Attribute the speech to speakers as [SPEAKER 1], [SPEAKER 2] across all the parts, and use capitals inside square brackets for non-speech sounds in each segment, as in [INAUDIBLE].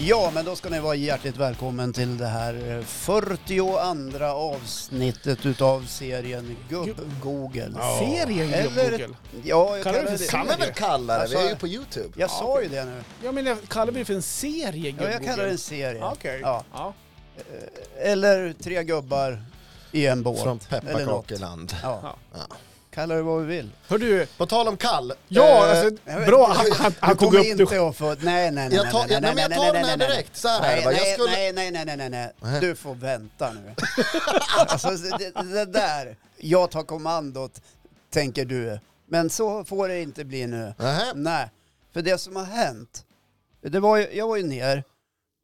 [SPEAKER 1] Ja, men då ska ni vara hjärtligt välkommen till det här eh, 42 avsnittet utav serien Gubb-Google.
[SPEAKER 2] Ja.
[SPEAKER 3] Serien
[SPEAKER 1] Eller-
[SPEAKER 3] Gubb-Google.
[SPEAKER 1] Ja, jag
[SPEAKER 3] Kallar
[SPEAKER 1] kallar
[SPEAKER 3] du
[SPEAKER 1] det
[SPEAKER 3] för
[SPEAKER 1] det.
[SPEAKER 3] Kan
[SPEAKER 4] kan
[SPEAKER 3] man
[SPEAKER 4] man
[SPEAKER 3] väl
[SPEAKER 4] väl kalla det,
[SPEAKER 1] Alltså,
[SPEAKER 4] vi är ju på Youtube.
[SPEAKER 1] Jag sa ju det nu.
[SPEAKER 3] Ja men jag kallar mig för en serie
[SPEAKER 1] Ja, jag kallar det en
[SPEAKER 3] Gubb-Google.
[SPEAKER 1] serie.
[SPEAKER 3] Ah, Okej.
[SPEAKER 1] Ja.
[SPEAKER 3] Ja.
[SPEAKER 1] Eller tre gubbar i en båt.
[SPEAKER 4] Från
[SPEAKER 1] Eller något.
[SPEAKER 4] pepparkakeland.
[SPEAKER 1] Ja.
[SPEAKER 4] Ja.
[SPEAKER 1] Kalla det vad vi vill.
[SPEAKER 3] Hör du,
[SPEAKER 4] På tal om kall.
[SPEAKER 3] ja
[SPEAKER 4] eh,
[SPEAKER 3] alltså bra han, han, han
[SPEAKER 1] Du
[SPEAKER 3] tog
[SPEAKER 1] kommer
[SPEAKER 3] upp
[SPEAKER 1] inte
[SPEAKER 3] det.
[SPEAKER 1] att få... Nej, nej, nej.
[SPEAKER 4] Jag tar-
[SPEAKER 1] nej, nej,
[SPEAKER 4] nej, men jag
[SPEAKER 1] nej,
[SPEAKER 4] tar
[SPEAKER 1] nej,
[SPEAKER 4] den här
[SPEAKER 1] nej, nej.
[SPEAKER 4] direkt. Så här är
[SPEAKER 1] nej,
[SPEAKER 4] det, va? Jag
[SPEAKER 1] nej,
[SPEAKER 4] skulle-
[SPEAKER 1] nej, nej, nej, nej, nej, nej.
[SPEAKER 4] Nej.
[SPEAKER 1] Du får vänta nu. [LAUGHS] alltså, det, det där, jag tar kommandot, tänker du. Men så får det inte bli nu.
[SPEAKER 4] Nähä.
[SPEAKER 1] Nej, för det som har hänt, det var ju, jag var ju ner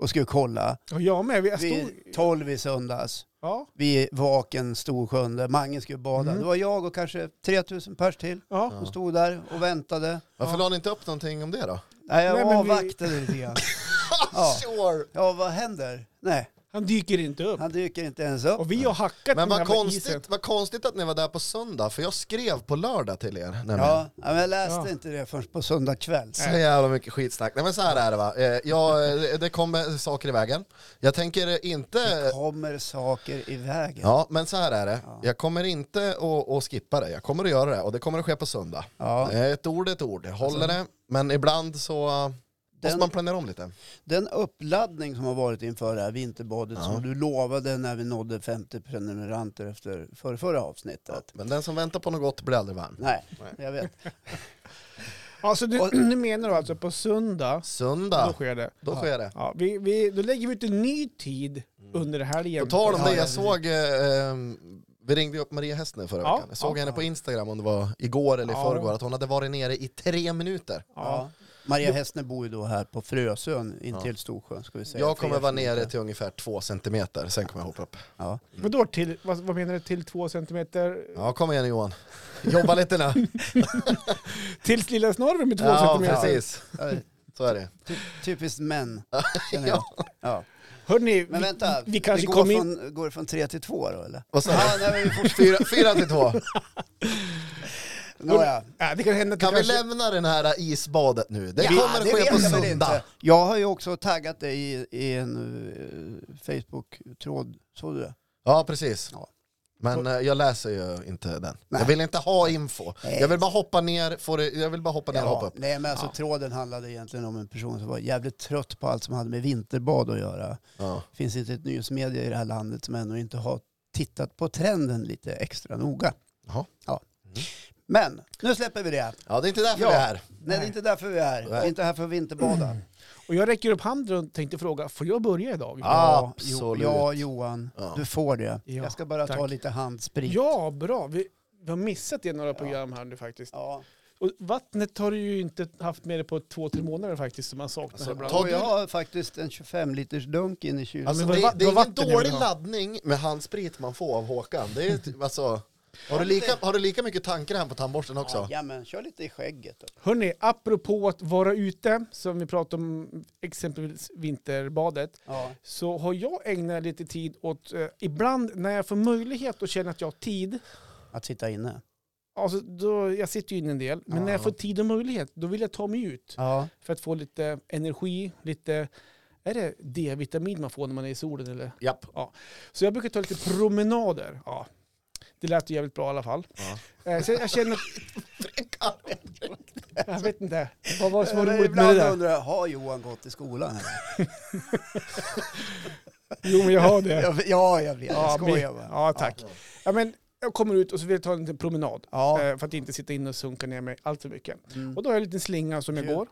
[SPEAKER 1] och skulle kolla.
[SPEAKER 3] Och jag med. Jag stod,
[SPEAKER 1] Vid 12 i söndags.
[SPEAKER 3] ja,
[SPEAKER 1] Vid vaken Storsjön där Mange skulle bada.
[SPEAKER 3] Mm.
[SPEAKER 1] Det var jag och kanske 3000 pers till
[SPEAKER 3] ja.
[SPEAKER 1] som stod där och väntade.
[SPEAKER 4] Varför la ni inte upp någonting om det då?
[SPEAKER 1] Nej, jag
[SPEAKER 3] Nej, men vi-
[SPEAKER 1] avvaktade lite grann. Ja.
[SPEAKER 4] Ah, Sure.
[SPEAKER 1] Ja, vad händer? Nej,
[SPEAKER 3] Han dyker inte upp.
[SPEAKER 1] han dyker inte ens upp.
[SPEAKER 3] Och vi har hackat
[SPEAKER 4] Men
[SPEAKER 3] den
[SPEAKER 4] vad
[SPEAKER 3] jävla isen.
[SPEAKER 4] konstigt, vad konstigt att ni var där på söndag, för jag skrev på lördag till er. nämligen.
[SPEAKER 1] Ja, ja, men jag läste
[SPEAKER 3] Ja.
[SPEAKER 1] inte det förrän på söndag kväll.
[SPEAKER 4] Så jävla mycket skitsnack. Nej men så här är det va. Eh, Jag, eh, det kommer saker i vägen. Jag tänker inte...
[SPEAKER 1] Kommer saker i vägen? Ja.
[SPEAKER 4] Ja, men så här är det. Jag kommer inte att, att skippa det. Jag kommer att göra det och det kommer att ske på söndag.
[SPEAKER 1] Ja.
[SPEAKER 4] Eh, Ett ord är ett ord. Jag håller det. Men ibland så eh, måste
[SPEAKER 1] Den-
[SPEAKER 4] man planera om lite.
[SPEAKER 1] Den uppladdning som har varit inför det här vinterbadet som du lovade när vi nådde 50 prenumeranter efter förra, förra avsnittet.
[SPEAKER 4] Men den som väntar på något gott blir aldrig varm.
[SPEAKER 1] Nej, jag vet.
[SPEAKER 3] Ja, så [CLEARS THROAT] du, du Alltså, menar du alltså på söndag, då
[SPEAKER 4] Söndag,
[SPEAKER 3] sker det.
[SPEAKER 4] då sker det. Mm.
[SPEAKER 3] Ja, vi, vi, då lägger vi ut en ny tid under helgen.
[SPEAKER 4] På tal om det,
[SPEAKER 3] Ja,
[SPEAKER 4] jag såg... eh, eh, Vi ringde upp Maria Hess nu förra
[SPEAKER 3] Ja.
[SPEAKER 4] veckan. Jag såg
[SPEAKER 3] Ja.
[SPEAKER 4] henne på Instagram om det var igår eller i
[SPEAKER 3] Ja.
[SPEAKER 4] förrgår att hon hade varit nere i tre minuter.
[SPEAKER 3] Ja.
[SPEAKER 1] Ja. Maria Hästner bor ju då här på Frösön intill Storsjön ska vi säga.
[SPEAKER 4] Jag kommer
[SPEAKER 1] För er
[SPEAKER 4] vara
[SPEAKER 1] som inte-
[SPEAKER 4] nere till ungefär två centimeter, sen kommer jag hoppa upp.
[SPEAKER 1] Ja.
[SPEAKER 3] Men då till, vad, vad menar du, till två centimeter?
[SPEAKER 4] Ja, kom igen Johan. Jobba lite nu.
[SPEAKER 3] Tills lilla Snorre med [LAUGHS] två
[SPEAKER 4] Ja,
[SPEAKER 3] centimeter?
[SPEAKER 4] precis. Så är det.
[SPEAKER 1] Ty typiskt män, känner jag. Ja.
[SPEAKER 3] Hörrni,
[SPEAKER 1] Men vänta,
[SPEAKER 3] vi
[SPEAKER 1] det
[SPEAKER 3] kanske
[SPEAKER 1] går,
[SPEAKER 3] kom in-
[SPEAKER 1] från, går det från tre till två då eller?
[SPEAKER 4] Vad sa du?
[SPEAKER 1] Ja, nej, men vi får...
[SPEAKER 4] Fyra, fyra till två.
[SPEAKER 1] Nåja.
[SPEAKER 3] Ja, det kan hända att
[SPEAKER 4] Kan
[SPEAKER 3] det
[SPEAKER 4] vi
[SPEAKER 3] kanske-
[SPEAKER 4] lämna den här isbadet nu? Det
[SPEAKER 1] Ja,
[SPEAKER 4] kommer
[SPEAKER 1] det vet
[SPEAKER 4] ske på
[SPEAKER 1] jag väl
[SPEAKER 4] söndag.
[SPEAKER 1] inte. Jag har ju också taggat dig i, i en eh, Facebook-tråd, såg du det?
[SPEAKER 4] Ja, precis.
[SPEAKER 1] Ja.
[SPEAKER 4] Men eh, jag läser ju inte den.
[SPEAKER 1] Nej.
[SPEAKER 4] Jag vill inte ha info.
[SPEAKER 1] Nej.
[SPEAKER 4] Jag vill bara hoppa ner, få det, jag vill bara hoppa ner och hoppa upp.
[SPEAKER 1] nej men alltså
[SPEAKER 3] Ja.
[SPEAKER 1] tråden handlade egentligen om en person som var jävligt trött på allt som hade med vinterbad att göra.
[SPEAKER 4] Ja.
[SPEAKER 1] Det finns inte ett nyhetsmedia i det här landet som ännu inte har tittat på trenden lite extra noga.
[SPEAKER 4] Jaha.
[SPEAKER 1] Ja. Men nu släpper vi det.
[SPEAKER 4] ja, det är inte därför
[SPEAKER 1] Ja.
[SPEAKER 4] vi är här.
[SPEAKER 1] Nej, det är inte därför vi är här. Vi är inte här för att vinterbada.
[SPEAKER 3] Och jag räcker upp handen och tänkte fråga, får jag börja idag?
[SPEAKER 4] Ja.
[SPEAKER 1] Jo-
[SPEAKER 4] Absolut.
[SPEAKER 1] Ja, Johan,
[SPEAKER 4] Ja.
[SPEAKER 1] du får det.
[SPEAKER 3] Ja,
[SPEAKER 1] Jag ska bara ta
[SPEAKER 3] tack.
[SPEAKER 1] lite handsprit.
[SPEAKER 3] Ja, bra. Vi, vi har missat det i några program här nu faktiskt.
[SPEAKER 1] Ja.
[SPEAKER 3] Och vattnet har du ju inte haft med dig på två, tre månader faktiskt som man saknar här bland.
[SPEAKER 4] Alltså, ta-
[SPEAKER 1] Och jag har faktiskt en 25 liters dunk in i kylen.
[SPEAKER 4] Alltså,
[SPEAKER 3] Men vad-
[SPEAKER 4] det, det är
[SPEAKER 3] vad
[SPEAKER 4] ingen
[SPEAKER 3] vatten jag vill
[SPEAKER 4] dålig
[SPEAKER 3] ha.
[SPEAKER 4] laddning med handsprit man får av Håkan. Det är typ, alltså, har, du lika, har du lika mycket tankar här på tandborsten också?
[SPEAKER 1] Ja, men kör lite i skägget. då.
[SPEAKER 3] Hörrni, apropå att vara ute, som vi pratade om exempelvis vinterbadet,
[SPEAKER 1] Ja.
[SPEAKER 3] så har jag ägnat lite tid åt, eh, ibland när jag får möjlighet och känner att jag har tid,
[SPEAKER 1] Att sitta inne.
[SPEAKER 3] alltså då, jag sitter ju inne en del, men när jag får tid och möjlighet, då vill jag ta mig ut
[SPEAKER 1] Ja.
[SPEAKER 3] för att få lite energi, lite, är det D-vitamin man får när man är i solen eller?
[SPEAKER 4] Japp.
[SPEAKER 3] Så jag brukar ta lite promenader. Ja. Det lät ju jävligt bra i alla fall. Eh, så jag känner... jag vet inte. Vad var det som var roligt med det
[SPEAKER 1] Eh, Ibland
[SPEAKER 3] där?
[SPEAKER 1] undrar jag, har Johan gått i skolan?
[SPEAKER 3] Jo, men jag har det.
[SPEAKER 1] Jag- [LAUGHS] ja, jag vet. Jag skojar
[SPEAKER 3] men-
[SPEAKER 1] bara.
[SPEAKER 3] ja, tack. Ja, men jag kommer ut och så vill jag ta en liten promenad.
[SPEAKER 1] Ja.
[SPEAKER 3] Eh, För att inte sitta inne och sunka ner mig allt för mycket.
[SPEAKER 1] Mm.
[SPEAKER 3] Eh, Och då har jag en liten slinga som jag
[SPEAKER 1] Kul.
[SPEAKER 3] går.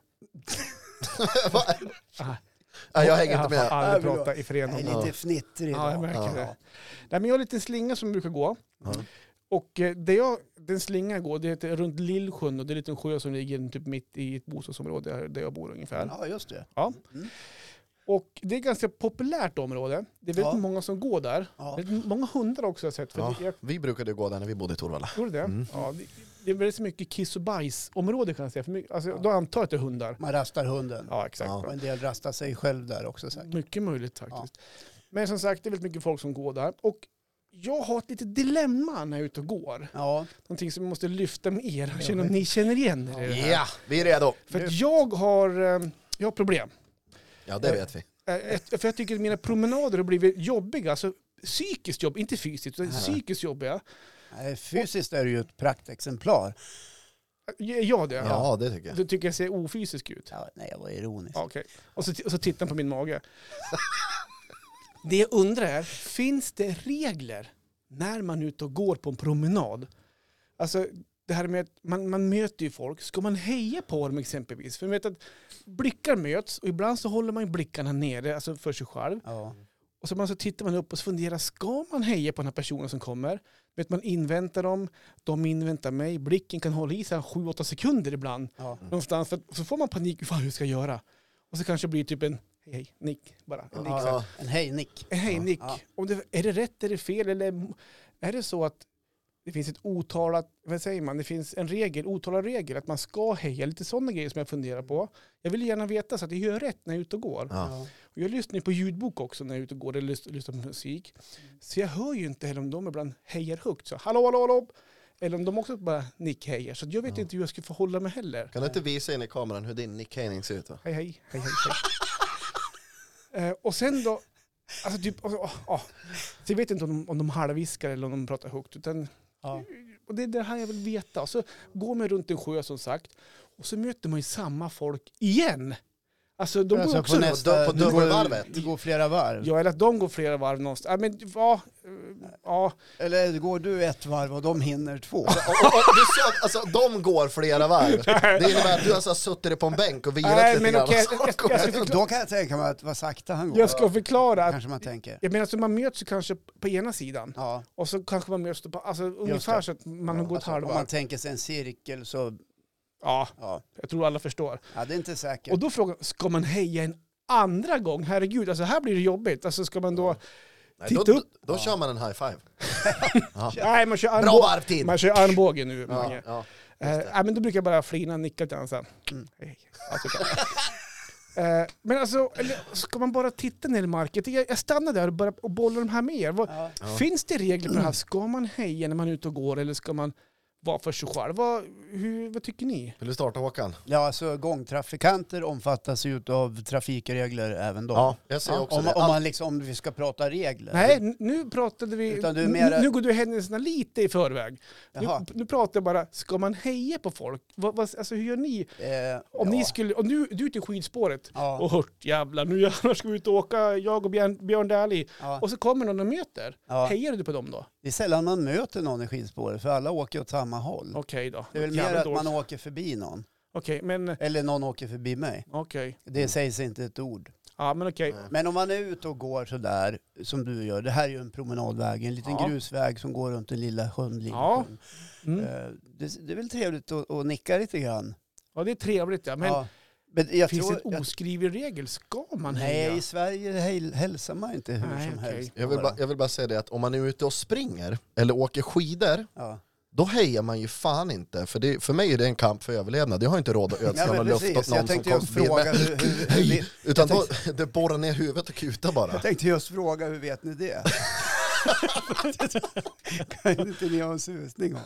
[SPEAKER 4] Va? Nej, jag hänger inte
[SPEAKER 3] Jag har
[SPEAKER 4] med.
[SPEAKER 3] aldrig
[SPEAKER 1] Ja, men då-
[SPEAKER 3] pratat i
[SPEAKER 1] Jag är
[SPEAKER 3] förening.
[SPEAKER 1] lite fnittrig
[SPEAKER 3] Ja, jag
[SPEAKER 1] idag.
[SPEAKER 3] märker
[SPEAKER 4] Ja.
[SPEAKER 3] det. Nej, men jag har en liten slinga som brukar gå.
[SPEAKER 4] Ja.
[SPEAKER 3] Och eh, det jag, den slingan jag går, det heter runt Lillsjön och det är en liten sjö som ligger typ mitt i ett bostadsområde där- där jag bor ungefär.
[SPEAKER 1] Ja, just det.
[SPEAKER 3] Ja.
[SPEAKER 1] Mm.
[SPEAKER 3] Och det är ett ganska populärt område. Det är väldigt
[SPEAKER 1] Ja.
[SPEAKER 3] många som går där.
[SPEAKER 1] Ja.
[SPEAKER 3] Väldigt många hundar också har jag sett. För
[SPEAKER 4] Ja,
[SPEAKER 3] det, jag
[SPEAKER 4] vi brukade ju gå där när vi bodde i Torvalla.
[SPEAKER 3] tror det.
[SPEAKER 1] Mm.
[SPEAKER 3] Ja, det, det är väldigt mycket kiss och bajsområde kan jag säga. För mycket, alltså, Då antar jag att det är hundar.
[SPEAKER 1] Man rastar hunden.
[SPEAKER 3] Ja, exakt.
[SPEAKER 4] Ja.
[SPEAKER 1] Och en del rastar sig själv där också säkert.
[SPEAKER 3] Mycket möjligt faktiskt. Men som sagt, det är väldigt mycket folk som går där. Och jag har ett litet dilemma när jag är ute och går.
[SPEAKER 1] Ja, Någonting
[SPEAKER 3] Någonting som jag måste lyfta med er. Jag känner om ni känner igen er i det här.
[SPEAKER 4] Ja, vi är redo.
[SPEAKER 3] För att jag har, eh, jag har problem.
[SPEAKER 4] Ja, det vet vi.
[SPEAKER 3] Eh, ett- För jag tycker att mina promenader har blivit jobbiga. Alltså, psykiskt jobb, inte fysiskt, utan
[SPEAKER 1] Nej.
[SPEAKER 3] psykiskt jobbiga.
[SPEAKER 1] Nej, fysiskt är det ju ett praktexemplar.
[SPEAKER 3] Gör jag det?
[SPEAKER 4] Ja, det tycker jag.
[SPEAKER 3] Då tycker jag ser ofysisk ut.
[SPEAKER 1] Ja, nej, jag var ironisk.
[SPEAKER 3] Ja, okej. Och, så, och så tittar han på min mage. [LAUGHS] Det jag undrar är, finns det regler när man är ute och går på en promenad? Alltså det här med att man, man möter ju folk, ska man heja på dem exempelvis? För man vet att blickar möts och ibland så håller man ju blickarna nere, alltså för sig själv.
[SPEAKER 1] Ja.
[SPEAKER 3] Och så, man, så tittar man upp och så funderar, ska man heja på den här personen som kommer? Vet man inväntar dem, de inväntar mig, blicken kan hålla i sig 7-8 sekunder ibland
[SPEAKER 1] Ja.
[SPEAKER 3] någonstans. För att, så får man panik, fan hur ska jag göra? Och så kanske det blir typ en hej, hej, nick bara. En nick, så här.
[SPEAKER 4] Ja,
[SPEAKER 1] En hejnick.
[SPEAKER 3] En hej, nick.
[SPEAKER 1] Ja.
[SPEAKER 3] Om det, är det rätt, är det fel eller är det så att det finns ett otalat, vad säger man, det finns en regel, otalad regel att man ska heja, lite sådana grejer som jag funderar på. Jag vill gärna veta så att jag gör rätt när jag är ute och går.
[SPEAKER 4] ja.
[SPEAKER 3] Och jag lyssnar ju på ljudbok också när jag är ute och går eller lys- lyssnar på musik.
[SPEAKER 1] Mm.
[SPEAKER 3] Så jag hör ju inte heller om de ibland hejar högt. Så hallå, hallå, hallå. Eller om de också bara nickhejar. Så jag vet
[SPEAKER 4] Ja.
[SPEAKER 3] inte hur jag ska förhålla mig heller.
[SPEAKER 4] Kan du inte visa in i kameran hur din Nick Haning ser ut? Då?
[SPEAKER 3] Hej, hej, hej, hej.
[SPEAKER 1] [LAUGHS]
[SPEAKER 3] hej. eh, och sen då, alltså typ, oh, Så jag vet inte om de, om de halvviskar eller om de pratar högt. Utan,
[SPEAKER 1] Ja.
[SPEAKER 3] och det är det här jag vill veta. Och så går man runt en sjö som sagt. Och så möter man ju samma folk igen. Alltså de går
[SPEAKER 1] Alltså,
[SPEAKER 3] också
[SPEAKER 1] på nästa,
[SPEAKER 4] dö- på
[SPEAKER 1] du går-
[SPEAKER 4] dubbelvarvet.
[SPEAKER 1] Du går flera varv.
[SPEAKER 3] Ja, eller att de går flera varv någonstans. Ja, men ja, eh, ja,
[SPEAKER 1] Eller går du ett varv och de hinner två?
[SPEAKER 4] Och, och, och, du ser, att- alltså, de går flera varv. Det innebär att du alltså har suttit dig på en bänk och vilat
[SPEAKER 3] Nej,
[SPEAKER 4] lite
[SPEAKER 3] men
[SPEAKER 4] grann.
[SPEAKER 3] okej,
[SPEAKER 4] och så
[SPEAKER 3] jag- jag-
[SPEAKER 4] går
[SPEAKER 3] jag-
[SPEAKER 4] jag-
[SPEAKER 3] jag-
[SPEAKER 1] Då kan jag tänka mig att vad sakta han går.
[SPEAKER 3] jag ska förklara. Att,
[SPEAKER 1] Kanske man tänker.
[SPEAKER 3] jag menar, så man möts ju kanske på ena sidan
[SPEAKER 1] Ja.
[SPEAKER 3] och så kanske man möts på, alltså, ungefär
[SPEAKER 1] det.
[SPEAKER 3] så att man har gått
[SPEAKER 1] Alltså, om
[SPEAKER 3] halva.
[SPEAKER 1] man tänker sig en cirkel så,
[SPEAKER 3] Ja,
[SPEAKER 1] ja,
[SPEAKER 3] jag tror alla förstår.
[SPEAKER 1] ja det är inte säkert.
[SPEAKER 3] Och då frågar jag, ska man heja en andra gång? Herregud, alltså här blir det jobbigt. Alltså ska man då...
[SPEAKER 4] Nej,
[SPEAKER 3] Titta
[SPEAKER 4] då,
[SPEAKER 3] upp.
[SPEAKER 4] Då kör man en
[SPEAKER 1] [LAUGHS]
[SPEAKER 4] high five.
[SPEAKER 3] Nej, man kör
[SPEAKER 4] Bra
[SPEAKER 3] armbåge.
[SPEAKER 4] varvtid!
[SPEAKER 3] Man kör armbåge nu,
[SPEAKER 4] Ja,
[SPEAKER 3] Mange.
[SPEAKER 4] ja.
[SPEAKER 3] Eh, nej, men då brukar jag bara flina och nicka till honom sen.
[SPEAKER 1] Mm.
[SPEAKER 3] Hej. Alltså, kan- [LAUGHS] eh, men alltså, eller, ska man bara titta ner i marken? Jag, jag stannar där och, bara, och bollar de här med er. Vad,
[SPEAKER 1] Ja. Mm.
[SPEAKER 4] Ja.
[SPEAKER 3] Finns det regler på det här? Ska man heja när man är ute och går eller ska man vara för sig själv? Vad, hur, vad tycker ni?
[SPEAKER 4] Vill du starta Håkan?
[SPEAKER 1] Ja, alltså gångtrafikanter omfattas ju av trafikregler även då.
[SPEAKER 4] Jag säger
[SPEAKER 1] Ja,
[SPEAKER 4] också
[SPEAKER 1] om,
[SPEAKER 4] det.
[SPEAKER 1] om man liksom, om vi ska prata regler.
[SPEAKER 3] Nej, n- nu pratade vi...
[SPEAKER 1] Utan du är
[SPEAKER 3] nu-
[SPEAKER 1] mera-
[SPEAKER 3] Nu går du händelserna lite i förväg. Nu,
[SPEAKER 1] Jaha.
[SPEAKER 3] nu pratar jag bara, ska man heja på folk? Vad, vad, alltså hur gör ni?
[SPEAKER 1] Eh,
[SPEAKER 3] Om
[SPEAKER 1] ja.
[SPEAKER 3] ni skulle... Om du, du är ute i skidspåret
[SPEAKER 1] Ja,
[SPEAKER 3] och hört jävlar, nu [LAUGHS] jävlar ska vi ut och åka, jag och Björn, Björn Dählie.
[SPEAKER 1] ja,
[SPEAKER 3] Och så kommer någon och möter.
[SPEAKER 1] ja. Mm.
[SPEAKER 3] Hejar du på dem då?
[SPEAKER 1] Det är sällan man möter någon i skidspåret för alla åker åt samma håll.
[SPEAKER 3] Okej då.
[SPEAKER 1] Det är väl mer
[SPEAKER 3] Jävligt
[SPEAKER 1] att
[SPEAKER 3] dåligt.
[SPEAKER 1] man åker förbi någon.
[SPEAKER 3] Okej, men...
[SPEAKER 1] Eller någon åker förbi mig.
[SPEAKER 3] Okej.
[SPEAKER 1] Det sägs inte ett ord.
[SPEAKER 3] Ja, men okej.
[SPEAKER 4] Nej.
[SPEAKER 1] Men om man är ute och går sådär som du gör. Det här är ju en promenadväg, en liten
[SPEAKER 3] Ja.
[SPEAKER 1] grusväg som går runt den lilla sjön. lilla
[SPEAKER 3] Ja.
[SPEAKER 1] sjön.
[SPEAKER 3] Mm.
[SPEAKER 1] Eh, Det, det är väl trevligt att, att nicka lite grann.
[SPEAKER 3] Ja, det är trevligt ja. Men
[SPEAKER 1] ja. men jag
[SPEAKER 3] finns
[SPEAKER 1] tror,
[SPEAKER 3] det en oskriven regel? Ska man heja?
[SPEAKER 1] Nej, i Sverige häl- hälsar man inte hur
[SPEAKER 3] Nej,
[SPEAKER 1] som
[SPEAKER 3] okej.
[SPEAKER 1] helst.
[SPEAKER 4] Jag vill, bara, jag vill bara säga det att om man är ute och springer eller åker skidor,
[SPEAKER 1] Ja.
[SPEAKER 4] då hejar man ju fan inte. För, det, för mig är det en kamp för överlevnad. Jag har inte råd att
[SPEAKER 1] Nej,
[SPEAKER 4] ödsla
[SPEAKER 1] men
[SPEAKER 4] med luft åt
[SPEAKER 1] precis. Jag
[SPEAKER 4] någon som
[SPEAKER 1] tänkte
[SPEAKER 4] kommer
[SPEAKER 1] just
[SPEAKER 4] förbi mig.
[SPEAKER 1] fråga hur, hur, hur, vi-
[SPEAKER 4] Utan då, det borrar ner huvudet och kutar bara.
[SPEAKER 1] jag tänkte just fråga hur vet ni det? kan inte ni ha en susning om,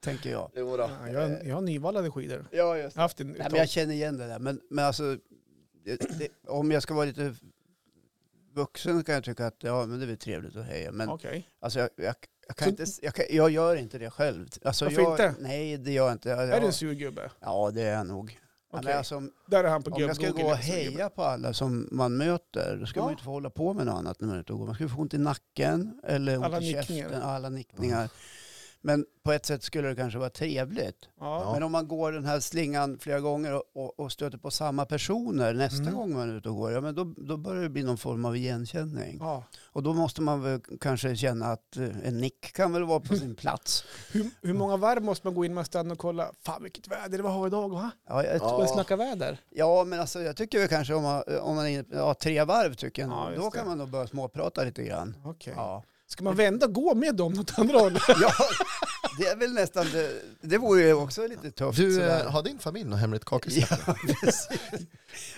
[SPEAKER 1] tänker jag.
[SPEAKER 4] Jo då.
[SPEAKER 3] Ja, jag, jag har nyvallade skidor.
[SPEAKER 1] Ja,
[SPEAKER 4] [LAUGHS]
[SPEAKER 1] just
[SPEAKER 3] Jag har haft en,
[SPEAKER 1] Nej, men jag känner igen det där. Men, men alltså, det, det, om jag ska vara lite vuxen kan jag tycka att ja, men det är väl trevligt att heja. Men
[SPEAKER 3] Okej.
[SPEAKER 1] alltså, jag, jag, jag, kan
[SPEAKER 3] Så-
[SPEAKER 1] inte, s- jag, kan, jag gör inte det själv. Alltså,
[SPEAKER 3] Varför
[SPEAKER 1] jag,
[SPEAKER 3] inte?
[SPEAKER 1] Nej, det gör jag inte.
[SPEAKER 3] Är du
[SPEAKER 1] Jag,
[SPEAKER 3] en sur gubbe?
[SPEAKER 1] ja, det är jag nog. Ja,
[SPEAKER 3] Okej.
[SPEAKER 1] men alltså, om
[SPEAKER 3] Där är han på
[SPEAKER 1] om jag ska
[SPEAKER 3] gubbboken,
[SPEAKER 1] gå och
[SPEAKER 3] lite sur gubbe.
[SPEAKER 1] heja på alla som man möter, då ska man
[SPEAKER 3] Ja.
[SPEAKER 1] ju inte få hålla på med något annat när man är ute och går. Man ska ju få ont i nacken eller ont
[SPEAKER 3] Alla
[SPEAKER 1] i
[SPEAKER 3] nickningar.
[SPEAKER 1] käften. Alla nickningar. Men på ett sätt skulle det kanske vara trevligt.
[SPEAKER 3] Ja.
[SPEAKER 1] Men om man går den här slingan flera gånger och, och, och stöter på samma personer nästa
[SPEAKER 3] Mm.
[SPEAKER 1] gång man är ute och går, ja, men då, då börjar det bli någon form av igenkänning.
[SPEAKER 3] Ja.
[SPEAKER 1] Och då måste man väl kanske känna att eh, en nick kan väl vara på sin plats.
[SPEAKER 3] Hur, hur många varv måste man gå in man stannar och kolla? Fan vilket väder det var idag va?
[SPEAKER 1] Ja, jag,
[SPEAKER 4] Ja.
[SPEAKER 1] ja.
[SPEAKER 3] Ska vi snacka väder?
[SPEAKER 1] men alltså, jag tycker väl kanske om man, eh, om man är inne på- ja, tre varv tycker jag
[SPEAKER 3] Ja,
[SPEAKER 1] nog.
[SPEAKER 3] just
[SPEAKER 1] Då kan
[SPEAKER 3] det.
[SPEAKER 1] man nog börja småprata lite grann.
[SPEAKER 3] Okej.
[SPEAKER 1] Ja.
[SPEAKER 3] Ska man vända och gå med dem åt andra hållet?
[SPEAKER 1] ja, det är väl nästan det. Det vore ju också lite tufft.
[SPEAKER 4] Du,
[SPEAKER 1] sådär.
[SPEAKER 4] eh, har din familj något hemligt kakelsnack?
[SPEAKER 1] [LAUGHS] ja, precis.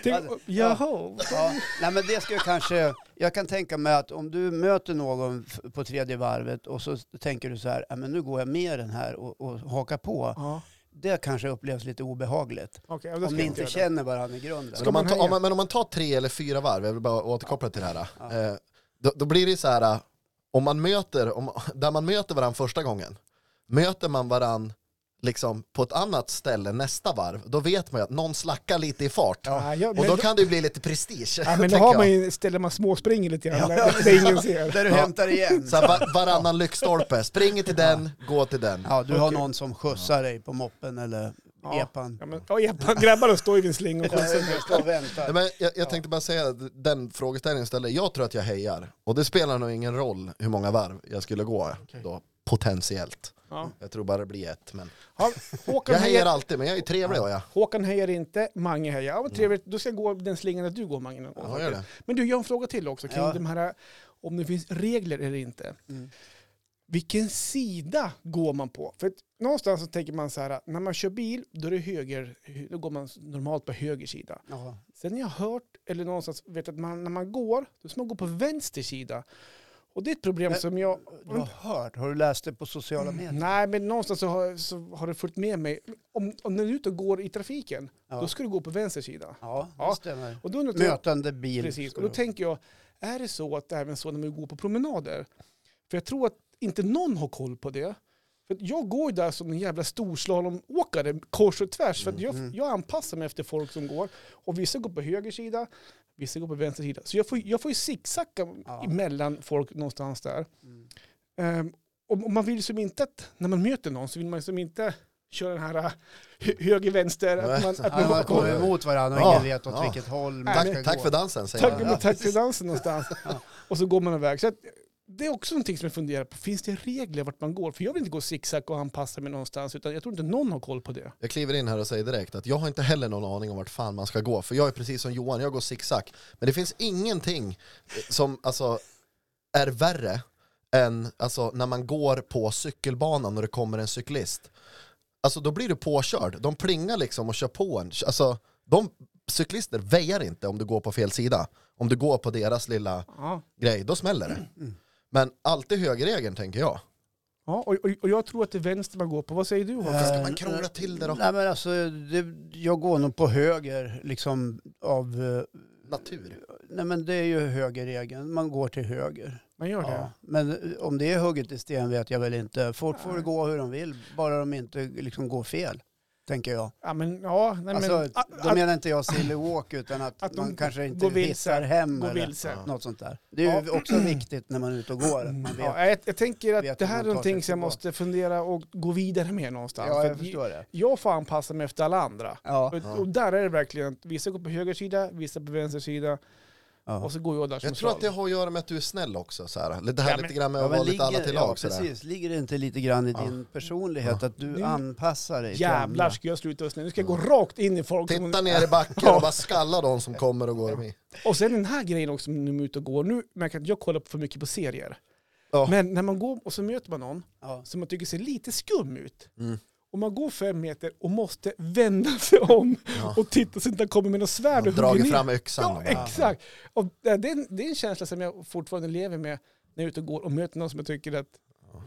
[SPEAKER 3] Tänk- Jaha.
[SPEAKER 1] Ja, nej men det ska jag kanske, jag kan tänka mig att om du möter någon f- på tredje varvet och så tänker du så här, "Ja, men nu går jag med den här och, och hakar på.
[SPEAKER 3] Ja.
[SPEAKER 1] det kanske upplevs lite obehagligt.
[SPEAKER 3] Okej, ja, då
[SPEAKER 1] Om
[SPEAKER 3] ska
[SPEAKER 1] ni
[SPEAKER 3] jag
[SPEAKER 1] inte
[SPEAKER 3] göra det.
[SPEAKER 1] känner varandra i grunden.
[SPEAKER 4] Men om, man
[SPEAKER 3] man
[SPEAKER 4] ta,
[SPEAKER 3] höja?
[SPEAKER 4] om man, men om man tar tre eller fyra varv, jag vill bara återkoppla till det här. eh, Då, då blir det så här, eh, om man möter, om, där man möter varandra första gången, möter man varandra liksom på ett annat ställe nästa varv, då vet man ju att någon slackar lite i fart.
[SPEAKER 3] Ja, ja,
[SPEAKER 4] och
[SPEAKER 3] men
[SPEAKER 4] då
[SPEAKER 3] då-
[SPEAKER 4] kan det ju bli lite prestige.
[SPEAKER 3] Ja, men då
[SPEAKER 4] [LAUGHS] tänker
[SPEAKER 3] har
[SPEAKER 4] jag.
[SPEAKER 3] man ju, ställer man småspringer lite grann
[SPEAKER 1] Ja,
[SPEAKER 3] där,
[SPEAKER 1] ja.
[SPEAKER 3] där ingen
[SPEAKER 1] [LAUGHS]
[SPEAKER 3] ser.
[SPEAKER 1] Där du
[SPEAKER 4] Ja.
[SPEAKER 1] hämtar igen.
[SPEAKER 3] [LAUGHS]
[SPEAKER 4] Så här, va- varannan lyktstolpe, springer till den, går till den.
[SPEAKER 1] Ja, du har
[SPEAKER 3] Okej.
[SPEAKER 1] någon som skjutsar dig på moppen eller
[SPEAKER 3] Ja.
[SPEAKER 1] epan.
[SPEAKER 3] Ja, men, ja, epan, grabbarna står ju vid en slinga och
[SPEAKER 1] Ja,
[SPEAKER 3] skjutsar.
[SPEAKER 1] jag står och väntar.
[SPEAKER 4] Nej, men jag, jag tänkte bara säga att den frågeställningen ställer. Jag tror att jag hejar. Och det spelar nog ingen roll hur många varv jag skulle gå då, potentiellt.
[SPEAKER 3] Ja.
[SPEAKER 4] Jag tror bara det blir ett. Men
[SPEAKER 3] Ja, Håkan,
[SPEAKER 4] jag hejar
[SPEAKER 3] hejar,
[SPEAKER 4] alltid, men jag är ju trevlig och jag.
[SPEAKER 3] Håkan hejar inte, Mange hejar. Ja, vad trevligt. Då ska jag gå den slingan där du går, Mange.
[SPEAKER 4] Ja, gör det.
[SPEAKER 3] Men du, jag har en fråga till också kring
[SPEAKER 1] Ja.
[SPEAKER 3] de här, om det finns regler eller inte.
[SPEAKER 1] Mm.
[SPEAKER 3] Vilken sida går man på? För att någonstans så tänker man så här, när man kör bil, då är det höger, då går man normalt på höger sida.
[SPEAKER 1] Ja.
[SPEAKER 3] Sen har jag hört, eller någonstans vet att man, när man går, då ska man gå på vänster sida. Och det är ett problem
[SPEAKER 1] Men-
[SPEAKER 3] som jag...
[SPEAKER 1] Du har hört, har du läst det på sociala medier?
[SPEAKER 3] Nej, men någonstans så har, så har det följt med mig. Om, om du är ute och går i trafiken,
[SPEAKER 1] Ja.
[SPEAKER 3] då ska du gå på vänster sida.
[SPEAKER 1] Ja,
[SPEAKER 3] Ja.
[SPEAKER 1] det stämmer.
[SPEAKER 3] Och då undrar jag,
[SPEAKER 1] Mötande bil.
[SPEAKER 3] Precis,
[SPEAKER 1] ska
[SPEAKER 3] och då
[SPEAKER 1] du-
[SPEAKER 3] tänker jag, är det så att det är även så när man går på promenader? För jag tror att inte någon har koll på det. För att jag går ju där som en jävla storslalomåkare, kors och tvärs. För att jag,
[SPEAKER 1] Mm.
[SPEAKER 3] jag anpassar mig efter folk som går. Och vissa går på höger sida, vissa går på vänster sida. Så jag får, jag får ju zigzacka
[SPEAKER 1] Ja.
[SPEAKER 3] mellan folk någonstans där.
[SPEAKER 1] Mm.
[SPEAKER 3] Ehm, och, och man vill ju som inte att, när man möter någon så vill man ju som inte köra den här äh, hö- höger-vänster. Att man, att
[SPEAKER 1] Ja,
[SPEAKER 3] man
[SPEAKER 1] man kommer emot varandra och
[SPEAKER 4] Ja,
[SPEAKER 1] ingen vet åt
[SPEAKER 4] ja.
[SPEAKER 1] vilket håll man ska
[SPEAKER 4] Tack, tack
[SPEAKER 1] gå.
[SPEAKER 4] för dansen, säger
[SPEAKER 3] Tack,
[SPEAKER 4] jag.
[SPEAKER 1] Ja,
[SPEAKER 3] ja, tack för
[SPEAKER 1] precis.
[SPEAKER 3] dansen någonstans.
[SPEAKER 1] [LAUGHS] Ja.
[SPEAKER 3] Och så går man iväg. Så att, det är också någonting som jag funderar på. Finns det regler vart man går? För jag vill inte gå zigzag och anpassa mig någonstans. Utan jag tror inte någon har koll på det.
[SPEAKER 4] Jag kliver in här och säger direkt att jag har inte heller någon aning om vart fan man ska gå. För jag är precis som Johan, jag går zigzag. Men det finns ingenting som alltså, är värre än alltså, när man går på cykelbanan och det kommer en cyklist. Alltså då blir du påkörd. De plingar liksom och kör på en. Alltså, de, cyklister väjar inte om du går på fel sida. Om du går på deras lilla
[SPEAKER 3] Ja.
[SPEAKER 4] grej, då smäller det.
[SPEAKER 1] Mm.
[SPEAKER 4] Men alltid högerregeln tänker jag.
[SPEAKER 3] Ja, och, och, och jag tror att det är vänster man går på. Vad säger du? Håkan?
[SPEAKER 4] Ska man krångla till det då?
[SPEAKER 1] Eh, Nej men alltså, det, jag går nog på höger liksom av... eh,
[SPEAKER 4] Natur.
[SPEAKER 1] Nej men det är ju högerregeln, man går till höger.
[SPEAKER 3] Man gör det?
[SPEAKER 1] Ja. Men eh, om det är hugget i sten vet jag väl inte. Folk får
[SPEAKER 3] Nej.
[SPEAKER 1] gå hur de vill, bara de inte liksom går fel, tänker jag.
[SPEAKER 3] Ja, men, ja, nej, men,
[SPEAKER 1] alltså,
[SPEAKER 3] att,
[SPEAKER 1] då menar inte jag silly walk utan att,
[SPEAKER 3] att de
[SPEAKER 1] man kanske inte
[SPEAKER 3] går vilse,
[SPEAKER 1] hittar hem
[SPEAKER 3] gå
[SPEAKER 1] eller
[SPEAKER 3] vilse.
[SPEAKER 4] Ja.
[SPEAKER 1] något sånt där. Det är ju också viktigt när man är ute och går. Att man vet.
[SPEAKER 3] Ja, jag, jag tänker
[SPEAKER 1] vet
[SPEAKER 3] att det
[SPEAKER 1] hur
[SPEAKER 3] här
[SPEAKER 1] man
[SPEAKER 3] är
[SPEAKER 1] tar sig
[SPEAKER 3] någonting som jag
[SPEAKER 1] tillbaka.
[SPEAKER 3] måste fundera och gå vidare med någonstans.
[SPEAKER 1] Ja,
[SPEAKER 3] För
[SPEAKER 1] jag
[SPEAKER 3] att
[SPEAKER 1] förstår det.
[SPEAKER 3] jag får anpassa mig efter alla andra.
[SPEAKER 1] Ja,
[SPEAKER 3] Och, och där är det verkligen att vissa går på höger sida, vissa på vänster sida
[SPEAKER 1] ja.
[SPEAKER 3] och så går jag där som
[SPEAKER 4] Jag tror att
[SPEAKER 3] slav.
[SPEAKER 4] det har att göra med att du är snäll också. Så här. Det här
[SPEAKER 3] Ja, men-
[SPEAKER 4] lite grann med
[SPEAKER 1] Ja,
[SPEAKER 4] att
[SPEAKER 1] men
[SPEAKER 4] vara lite alla till lag.
[SPEAKER 1] ja,
[SPEAKER 4] så där.
[SPEAKER 1] precis. Ligger det inte lite grann i
[SPEAKER 4] Ja.
[SPEAKER 1] din personlighet att du
[SPEAKER 3] Nu-
[SPEAKER 1] anpassar dig? till
[SPEAKER 3] Jävlar
[SPEAKER 1] andra?
[SPEAKER 3] ska jag sluta vara snäll. Nu ska jag gå rakt in i folk.
[SPEAKER 4] Titta ner
[SPEAKER 1] [LAUGHS]
[SPEAKER 4] i backen och bara skalla de som kommer och går förbi.
[SPEAKER 3] Och sen den här grejen också när man är ute och går. Nu märker jag att jag kollar för mycket på serier.
[SPEAKER 4] Ja.
[SPEAKER 3] Men när man går och så möter man någon
[SPEAKER 1] Ja.
[SPEAKER 3] som man tycker ser lite skum ut.
[SPEAKER 4] Mm.
[SPEAKER 3] Och man går fem meter och måste vända sig om
[SPEAKER 4] Ja.
[SPEAKER 3] och titta så att det inte kommer med något svärd
[SPEAKER 4] De
[SPEAKER 3] och
[SPEAKER 4] drar
[SPEAKER 3] hugger ner.
[SPEAKER 4] fram yxan.
[SPEAKER 3] Ja,
[SPEAKER 4] och bara-
[SPEAKER 3] exakt. Och det, det är en, det är en känsla som jag fortfarande lever med när jag är ute och går och möter någon som jag tycker att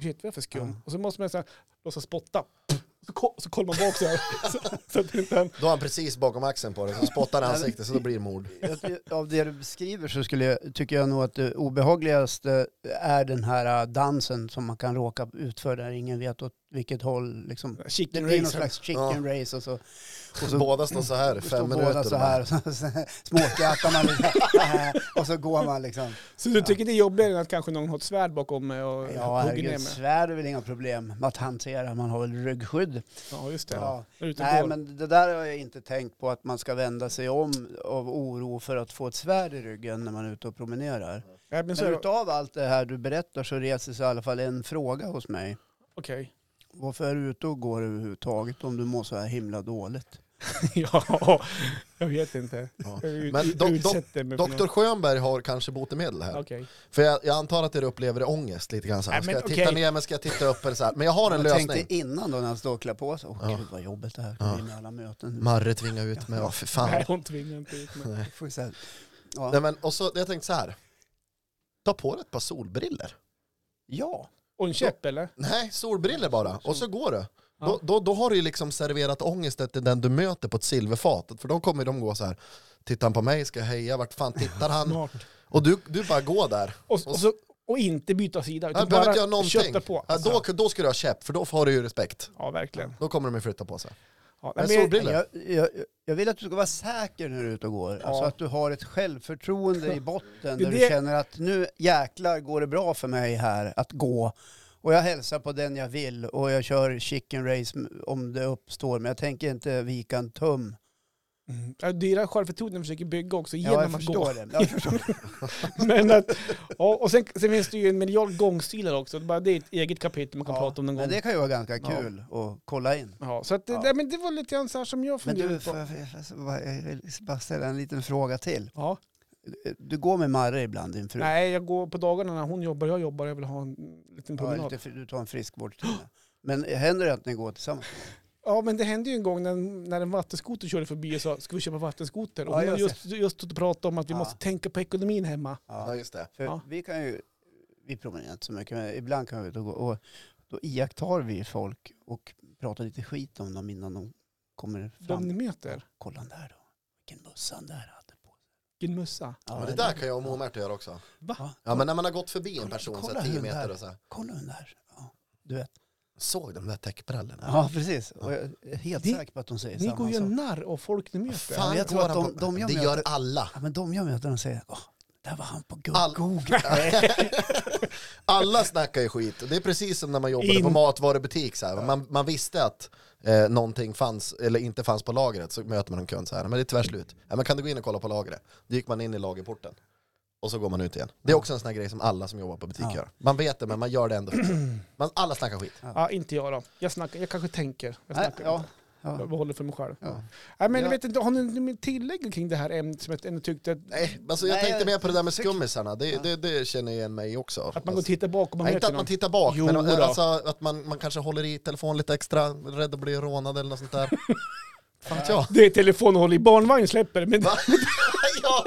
[SPEAKER 3] shit vad är jag för skum.
[SPEAKER 1] Ja.
[SPEAKER 3] Och så måste man så här, låtsas spotta. Så, ko- så kollar man bak så här. [LAUGHS] så, så att inte han...
[SPEAKER 4] Då är han precis bakom axeln på dig, så spottar han i ansiktet så då blir det mord.
[SPEAKER 1] Jag- Av det du beskriver så skulle jag, tycker jag nog att det obehagligaste är den här äh, dansen som man kan råka ut för där ingen vet åt vilket håll. Liksom. Det
[SPEAKER 3] Chicken
[SPEAKER 1] blir någon
[SPEAKER 3] racer.
[SPEAKER 1] slags chicken race och så, och så
[SPEAKER 4] Båda står så här i
[SPEAKER 1] står
[SPEAKER 4] fem
[SPEAKER 1] båda
[SPEAKER 4] minuter.
[SPEAKER 1] så här och så småskrattar man lite [LAUGHS] och så går man liksom.
[SPEAKER 3] Så du tycker det är jobbigare än att kanske någon har ett svärd bakom mig och
[SPEAKER 1] Ja
[SPEAKER 3] hugger ner
[SPEAKER 1] herregud,
[SPEAKER 3] mig?
[SPEAKER 1] svärd är väl inga problem att hantera, man har väl ryggskydd.
[SPEAKER 3] Ja, just det.
[SPEAKER 1] Ja.
[SPEAKER 3] Jag är ute och
[SPEAKER 1] Nej
[SPEAKER 3] går.
[SPEAKER 1] men det där har jag inte tänkt på att man ska vända sig om av oro för att få ett svärd i ryggen när man är ute och promenerar.
[SPEAKER 3] Nej, men så,
[SPEAKER 1] Men
[SPEAKER 3] är det-
[SPEAKER 1] utav allt det här du berättar så reser sig i alla fall en fråga hos mig.
[SPEAKER 3] Okej. [LAUGHS]
[SPEAKER 1] Varför är du ute och går överhuvudtaget om du mår så här himla dåligt?
[SPEAKER 3] ja, jag vet inte.
[SPEAKER 4] Ja.
[SPEAKER 3] Jag ut-
[SPEAKER 4] Men do- do-
[SPEAKER 3] utsätter mig för
[SPEAKER 4] Doktor Schönberg har kanske botemedel här.
[SPEAKER 3] något. Okej.
[SPEAKER 4] För jag, jag antar att det du upplever är ångest lite grann. Så här.
[SPEAKER 3] Nej,
[SPEAKER 4] Ska
[SPEAKER 3] men
[SPEAKER 4] jag titta
[SPEAKER 3] okej.
[SPEAKER 4] ner men ska jag titta upp eller så här. Men jag har en
[SPEAKER 1] jag
[SPEAKER 4] lösning.
[SPEAKER 1] tänkte innan då när han står och klär på sig. Åh
[SPEAKER 4] Ja.
[SPEAKER 1] gud vad jobbigt det här
[SPEAKER 4] Ja.
[SPEAKER 1] kommer bli med alla möten.
[SPEAKER 4] Marre tvingar ut mig, ja för fan.
[SPEAKER 3] Nej, hon tvingar inte ut mig.
[SPEAKER 1] Jag får ju så här- Ja.
[SPEAKER 4] Nej, men, och så, jag tänkte så här. Ta på dig ett par solbriller.
[SPEAKER 1] ja.
[SPEAKER 3] Och en käpp eller?
[SPEAKER 4] Nej, solbriller bara. Och så går du. Då, då, då har du ju liksom serverat ångesten till den du möter på ett silverfat. För då kommer de gå så här. Tittar han på mig? Ska jag heja? Vart fan
[SPEAKER 3] [LAUGHS]
[SPEAKER 4] tittar han?
[SPEAKER 3] Smart.
[SPEAKER 4] Och du, du bara går där.
[SPEAKER 3] Och, och, så, och inte byta sida,
[SPEAKER 4] Jag
[SPEAKER 3] utan
[SPEAKER 4] behöver
[SPEAKER 3] bara
[SPEAKER 4] inte göra någonting.
[SPEAKER 3] kötta på. Alltså,
[SPEAKER 4] Ja, då, då ska du ha käpp, för då har du ju respekt.
[SPEAKER 3] Ja, verkligen.
[SPEAKER 4] Då kommer de ju flytta på sig.
[SPEAKER 3] Ja,
[SPEAKER 4] Men
[SPEAKER 3] nej, men,
[SPEAKER 4] solbrillor?
[SPEAKER 1] Jag, jag, jag vill att du ska vara säker när du är ute och går. Alltså
[SPEAKER 3] Ja.
[SPEAKER 1] att du har ett självförtroende i botten
[SPEAKER 3] Det är
[SPEAKER 1] där du
[SPEAKER 3] det-
[SPEAKER 1] känner att nu jäklar går det bra för mig här att gå. Och jag hälsar på den jag vill och jag kör chicken race m- om det uppstår. Men jag tänker inte vika en tum.
[SPEAKER 3] Mm. Ja, det är det självförtroendet man försöker bygga också
[SPEAKER 1] Ja,
[SPEAKER 3] genom
[SPEAKER 1] jag
[SPEAKER 3] att gå.
[SPEAKER 1] förstår det. Jag förstår.
[SPEAKER 3] [LAUGHS] Men att, ja, och sen, sen finns det ju en miljard gångstilar också. Bara det är ett eget kapitel man kan
[SPEAKER 1] Ja,
[SPEAKER 3] prata om någon gång.
[SPEAKER 1] Men det kan ju vara ganska
[SPEAKER 3] Ja.
[SPEAKER 1] kul att kolla in.
[SPEAKER 3] Ja, så att, det-
[SPEAKER 1] Ja.
[SPEAKER 3] Nej, men det var lite grann så här som jag
[SPEAKER 1] Men
[SPEAKER 3] funderade
[SPEAKER 1] du,
[SPEAKER 3] på.
[SPEAKER 1] får jag, får jag- jag vill bara ställa en liten fråga till.
[SPEAKER 3] Ja.
[SPEAKER 1] Du går med Marre ibland, din fru?
[SPEAKER 3] Nej, jag går på dagarna när hon jobbar och jag jobbar. Jag vill ha en
[SPEAKER 1] Ja,
[SPEAKER 3] liten promenad.
[SPEAKER 1] lite, fri- du tar en friskvårdstimme. Men händer det att ni går tillsammans?
[SPEAKER 3] Ja, men det hände ju en gång när, när en vattenskoter körde förbi och sa ska vi köpa vattenskoter? Och
[SPEAKER 1] Ja,
[SPEAKER 3] hon har
[SPEAKER 1] just
[SPEAKER 3] just, just stått och pratat om att vi
[SPEAKER 1] Ja.
[SPEAKER 3] måste tänka på ekonomin hemma.
[SPEAKER 4] Ja, just det.
[SPEAKER 1] För
[SPEAKER 3] Ja.
[SPEAKER 1] vi kan ju, vi promenerar inte så mycket, men ibland kan vi ut och gå. Och då iakttar vi folk och pratar lite skit om dem innan de kommer
[SPEAKER 3] De
[SPEAKER 1] fram.
[SPEAKER 3] ni möter,
[SPEAKER 1] Kolla den där då. Vilken mössa han där hade på sig.
[SPEAKER 3] vilken mössa.
[SPEAKER 1] Ja,
[SPEAKER 4] Men det där kan jag och Moa-Märta göra också.
[SPEAKER 3] Va?
[SPEAKER 1] Ja,
[SPEAKER 4] Ja, men när man har gått förbi en
[SPEAKER 1] Kolla-
[SPEAKER 4] person så
[SPEAKER 1] kolla
[SPEAKER 4] här, 10
[SPEAKER 1] hur den
[SPEAKER 4] meter
[SPEAKER 1] där-
[SPEAKER 4] och så här,
[SPEAKER 1] Kolla den där. Ja, du vet.
[SPEAKER 4] Såg de där täckbrallorna?
[SPEAKER 1] Ja, precis. Och jag är helt
[SPEAKER 3] Ni-
[SPEAKER 1] säker på att de säger
[SPEAKER 3] Ni
[SPEAKER 1] samma
[SPEAKER 3] går ju
[SPEAKER 1] sak.
[SPEAKER 3] narr av folk ni möter.
[SPEAKER 4] Fan,
[SPEAKER 1] men jag tror
[SPEAKER 4] går
[SPEAKER 1] att
[SPEAKER 4] han
[SPEAKER 1] de-
[SPEAKER 4] på-
[SPEAKER 1] de jag
[SPEAKER 4] det
[SPEAKER 1] möter-
[SPEAKER 4] gör alla.
[SPEAKER 1] Ja, men de jag möter, de säger, åh, där var han på Go-
[SPEAKER 4] All-
[SPEAKER 1] Google.
[SPEAKER 4] [LAUGHS] Alla snackar ju skit. Det är precis som när man jobbade på
[SPEAKER 3] In-
[SPEAKER 4] matvarubutik. Så här. Man, man visste att eh, någonting fanns eller inte fanns på lagret. Så möter man en kund så här. Men det är tvärslut. Ja, men kan du gå in och kolla på lagret? Då gick man in i lagerporten. Och så går man ut igen. Det är också en sån här grej som alla som jobbar på butik
[SPEAKER 1] Ja.
[SPEAKER 4] gör. Man vet det men man gör
[SPEAKER 1] [CLEARS THROAT]
[SPEAKER 4] det ändå. Man, alla snackar skit.
[SPEAKER 3] Ja, inte jag då. Jag, snackar, jag kanske tänker. Jag
[SPEAKER 1] Nej,
[SPEAKER 3] snackar
[SPEAKER 1] ja, ja.
[SPEAKER 3] inte. Jag håller för mig själv.
[SPEAKER 1] Ja.
[SPEAKER 3] Nej, men
[SPEAKER 1] Ja.
[SPEAKER 3] jag vet inte, har ni något tillägg kring det här ämnet som jag ändå tyckte att,
[SPEAKER 4] Nej, alltså jag
[SPEAKER 1] Nej,
[SPEAKER 4] tänkte
[SPEAKER 1] jag-
[SPEAKER 4] mer på det där med skummisarna. Det, det, det känner jag igen mig också.
[SPEAKER 1] Alltså.
[SPEAKER 4] alltså.
[SPEAKER 3] att man går och tittar bakom och
[SPEAKER 4] Nej,
[SPEAKER 3] möter
[SPEAKER 4] inte att man
[SPEAKER 3] någon?
[SPEAKER 4] tittar bak,
[SPEAKER 3] Jo
[SPEAKER 4] men
[SPEAKER 3] då.
[SPEAKER 4] alltså, att man, man kanske håller i telefonen lite extra, rädd att bli rånad eller något sånt där. Fan vet jag.
[SPEAKER 3] Det är telefonhåll i barnvagn släpper men
[SPEAKER 4] Va? [LAUGHS] ja.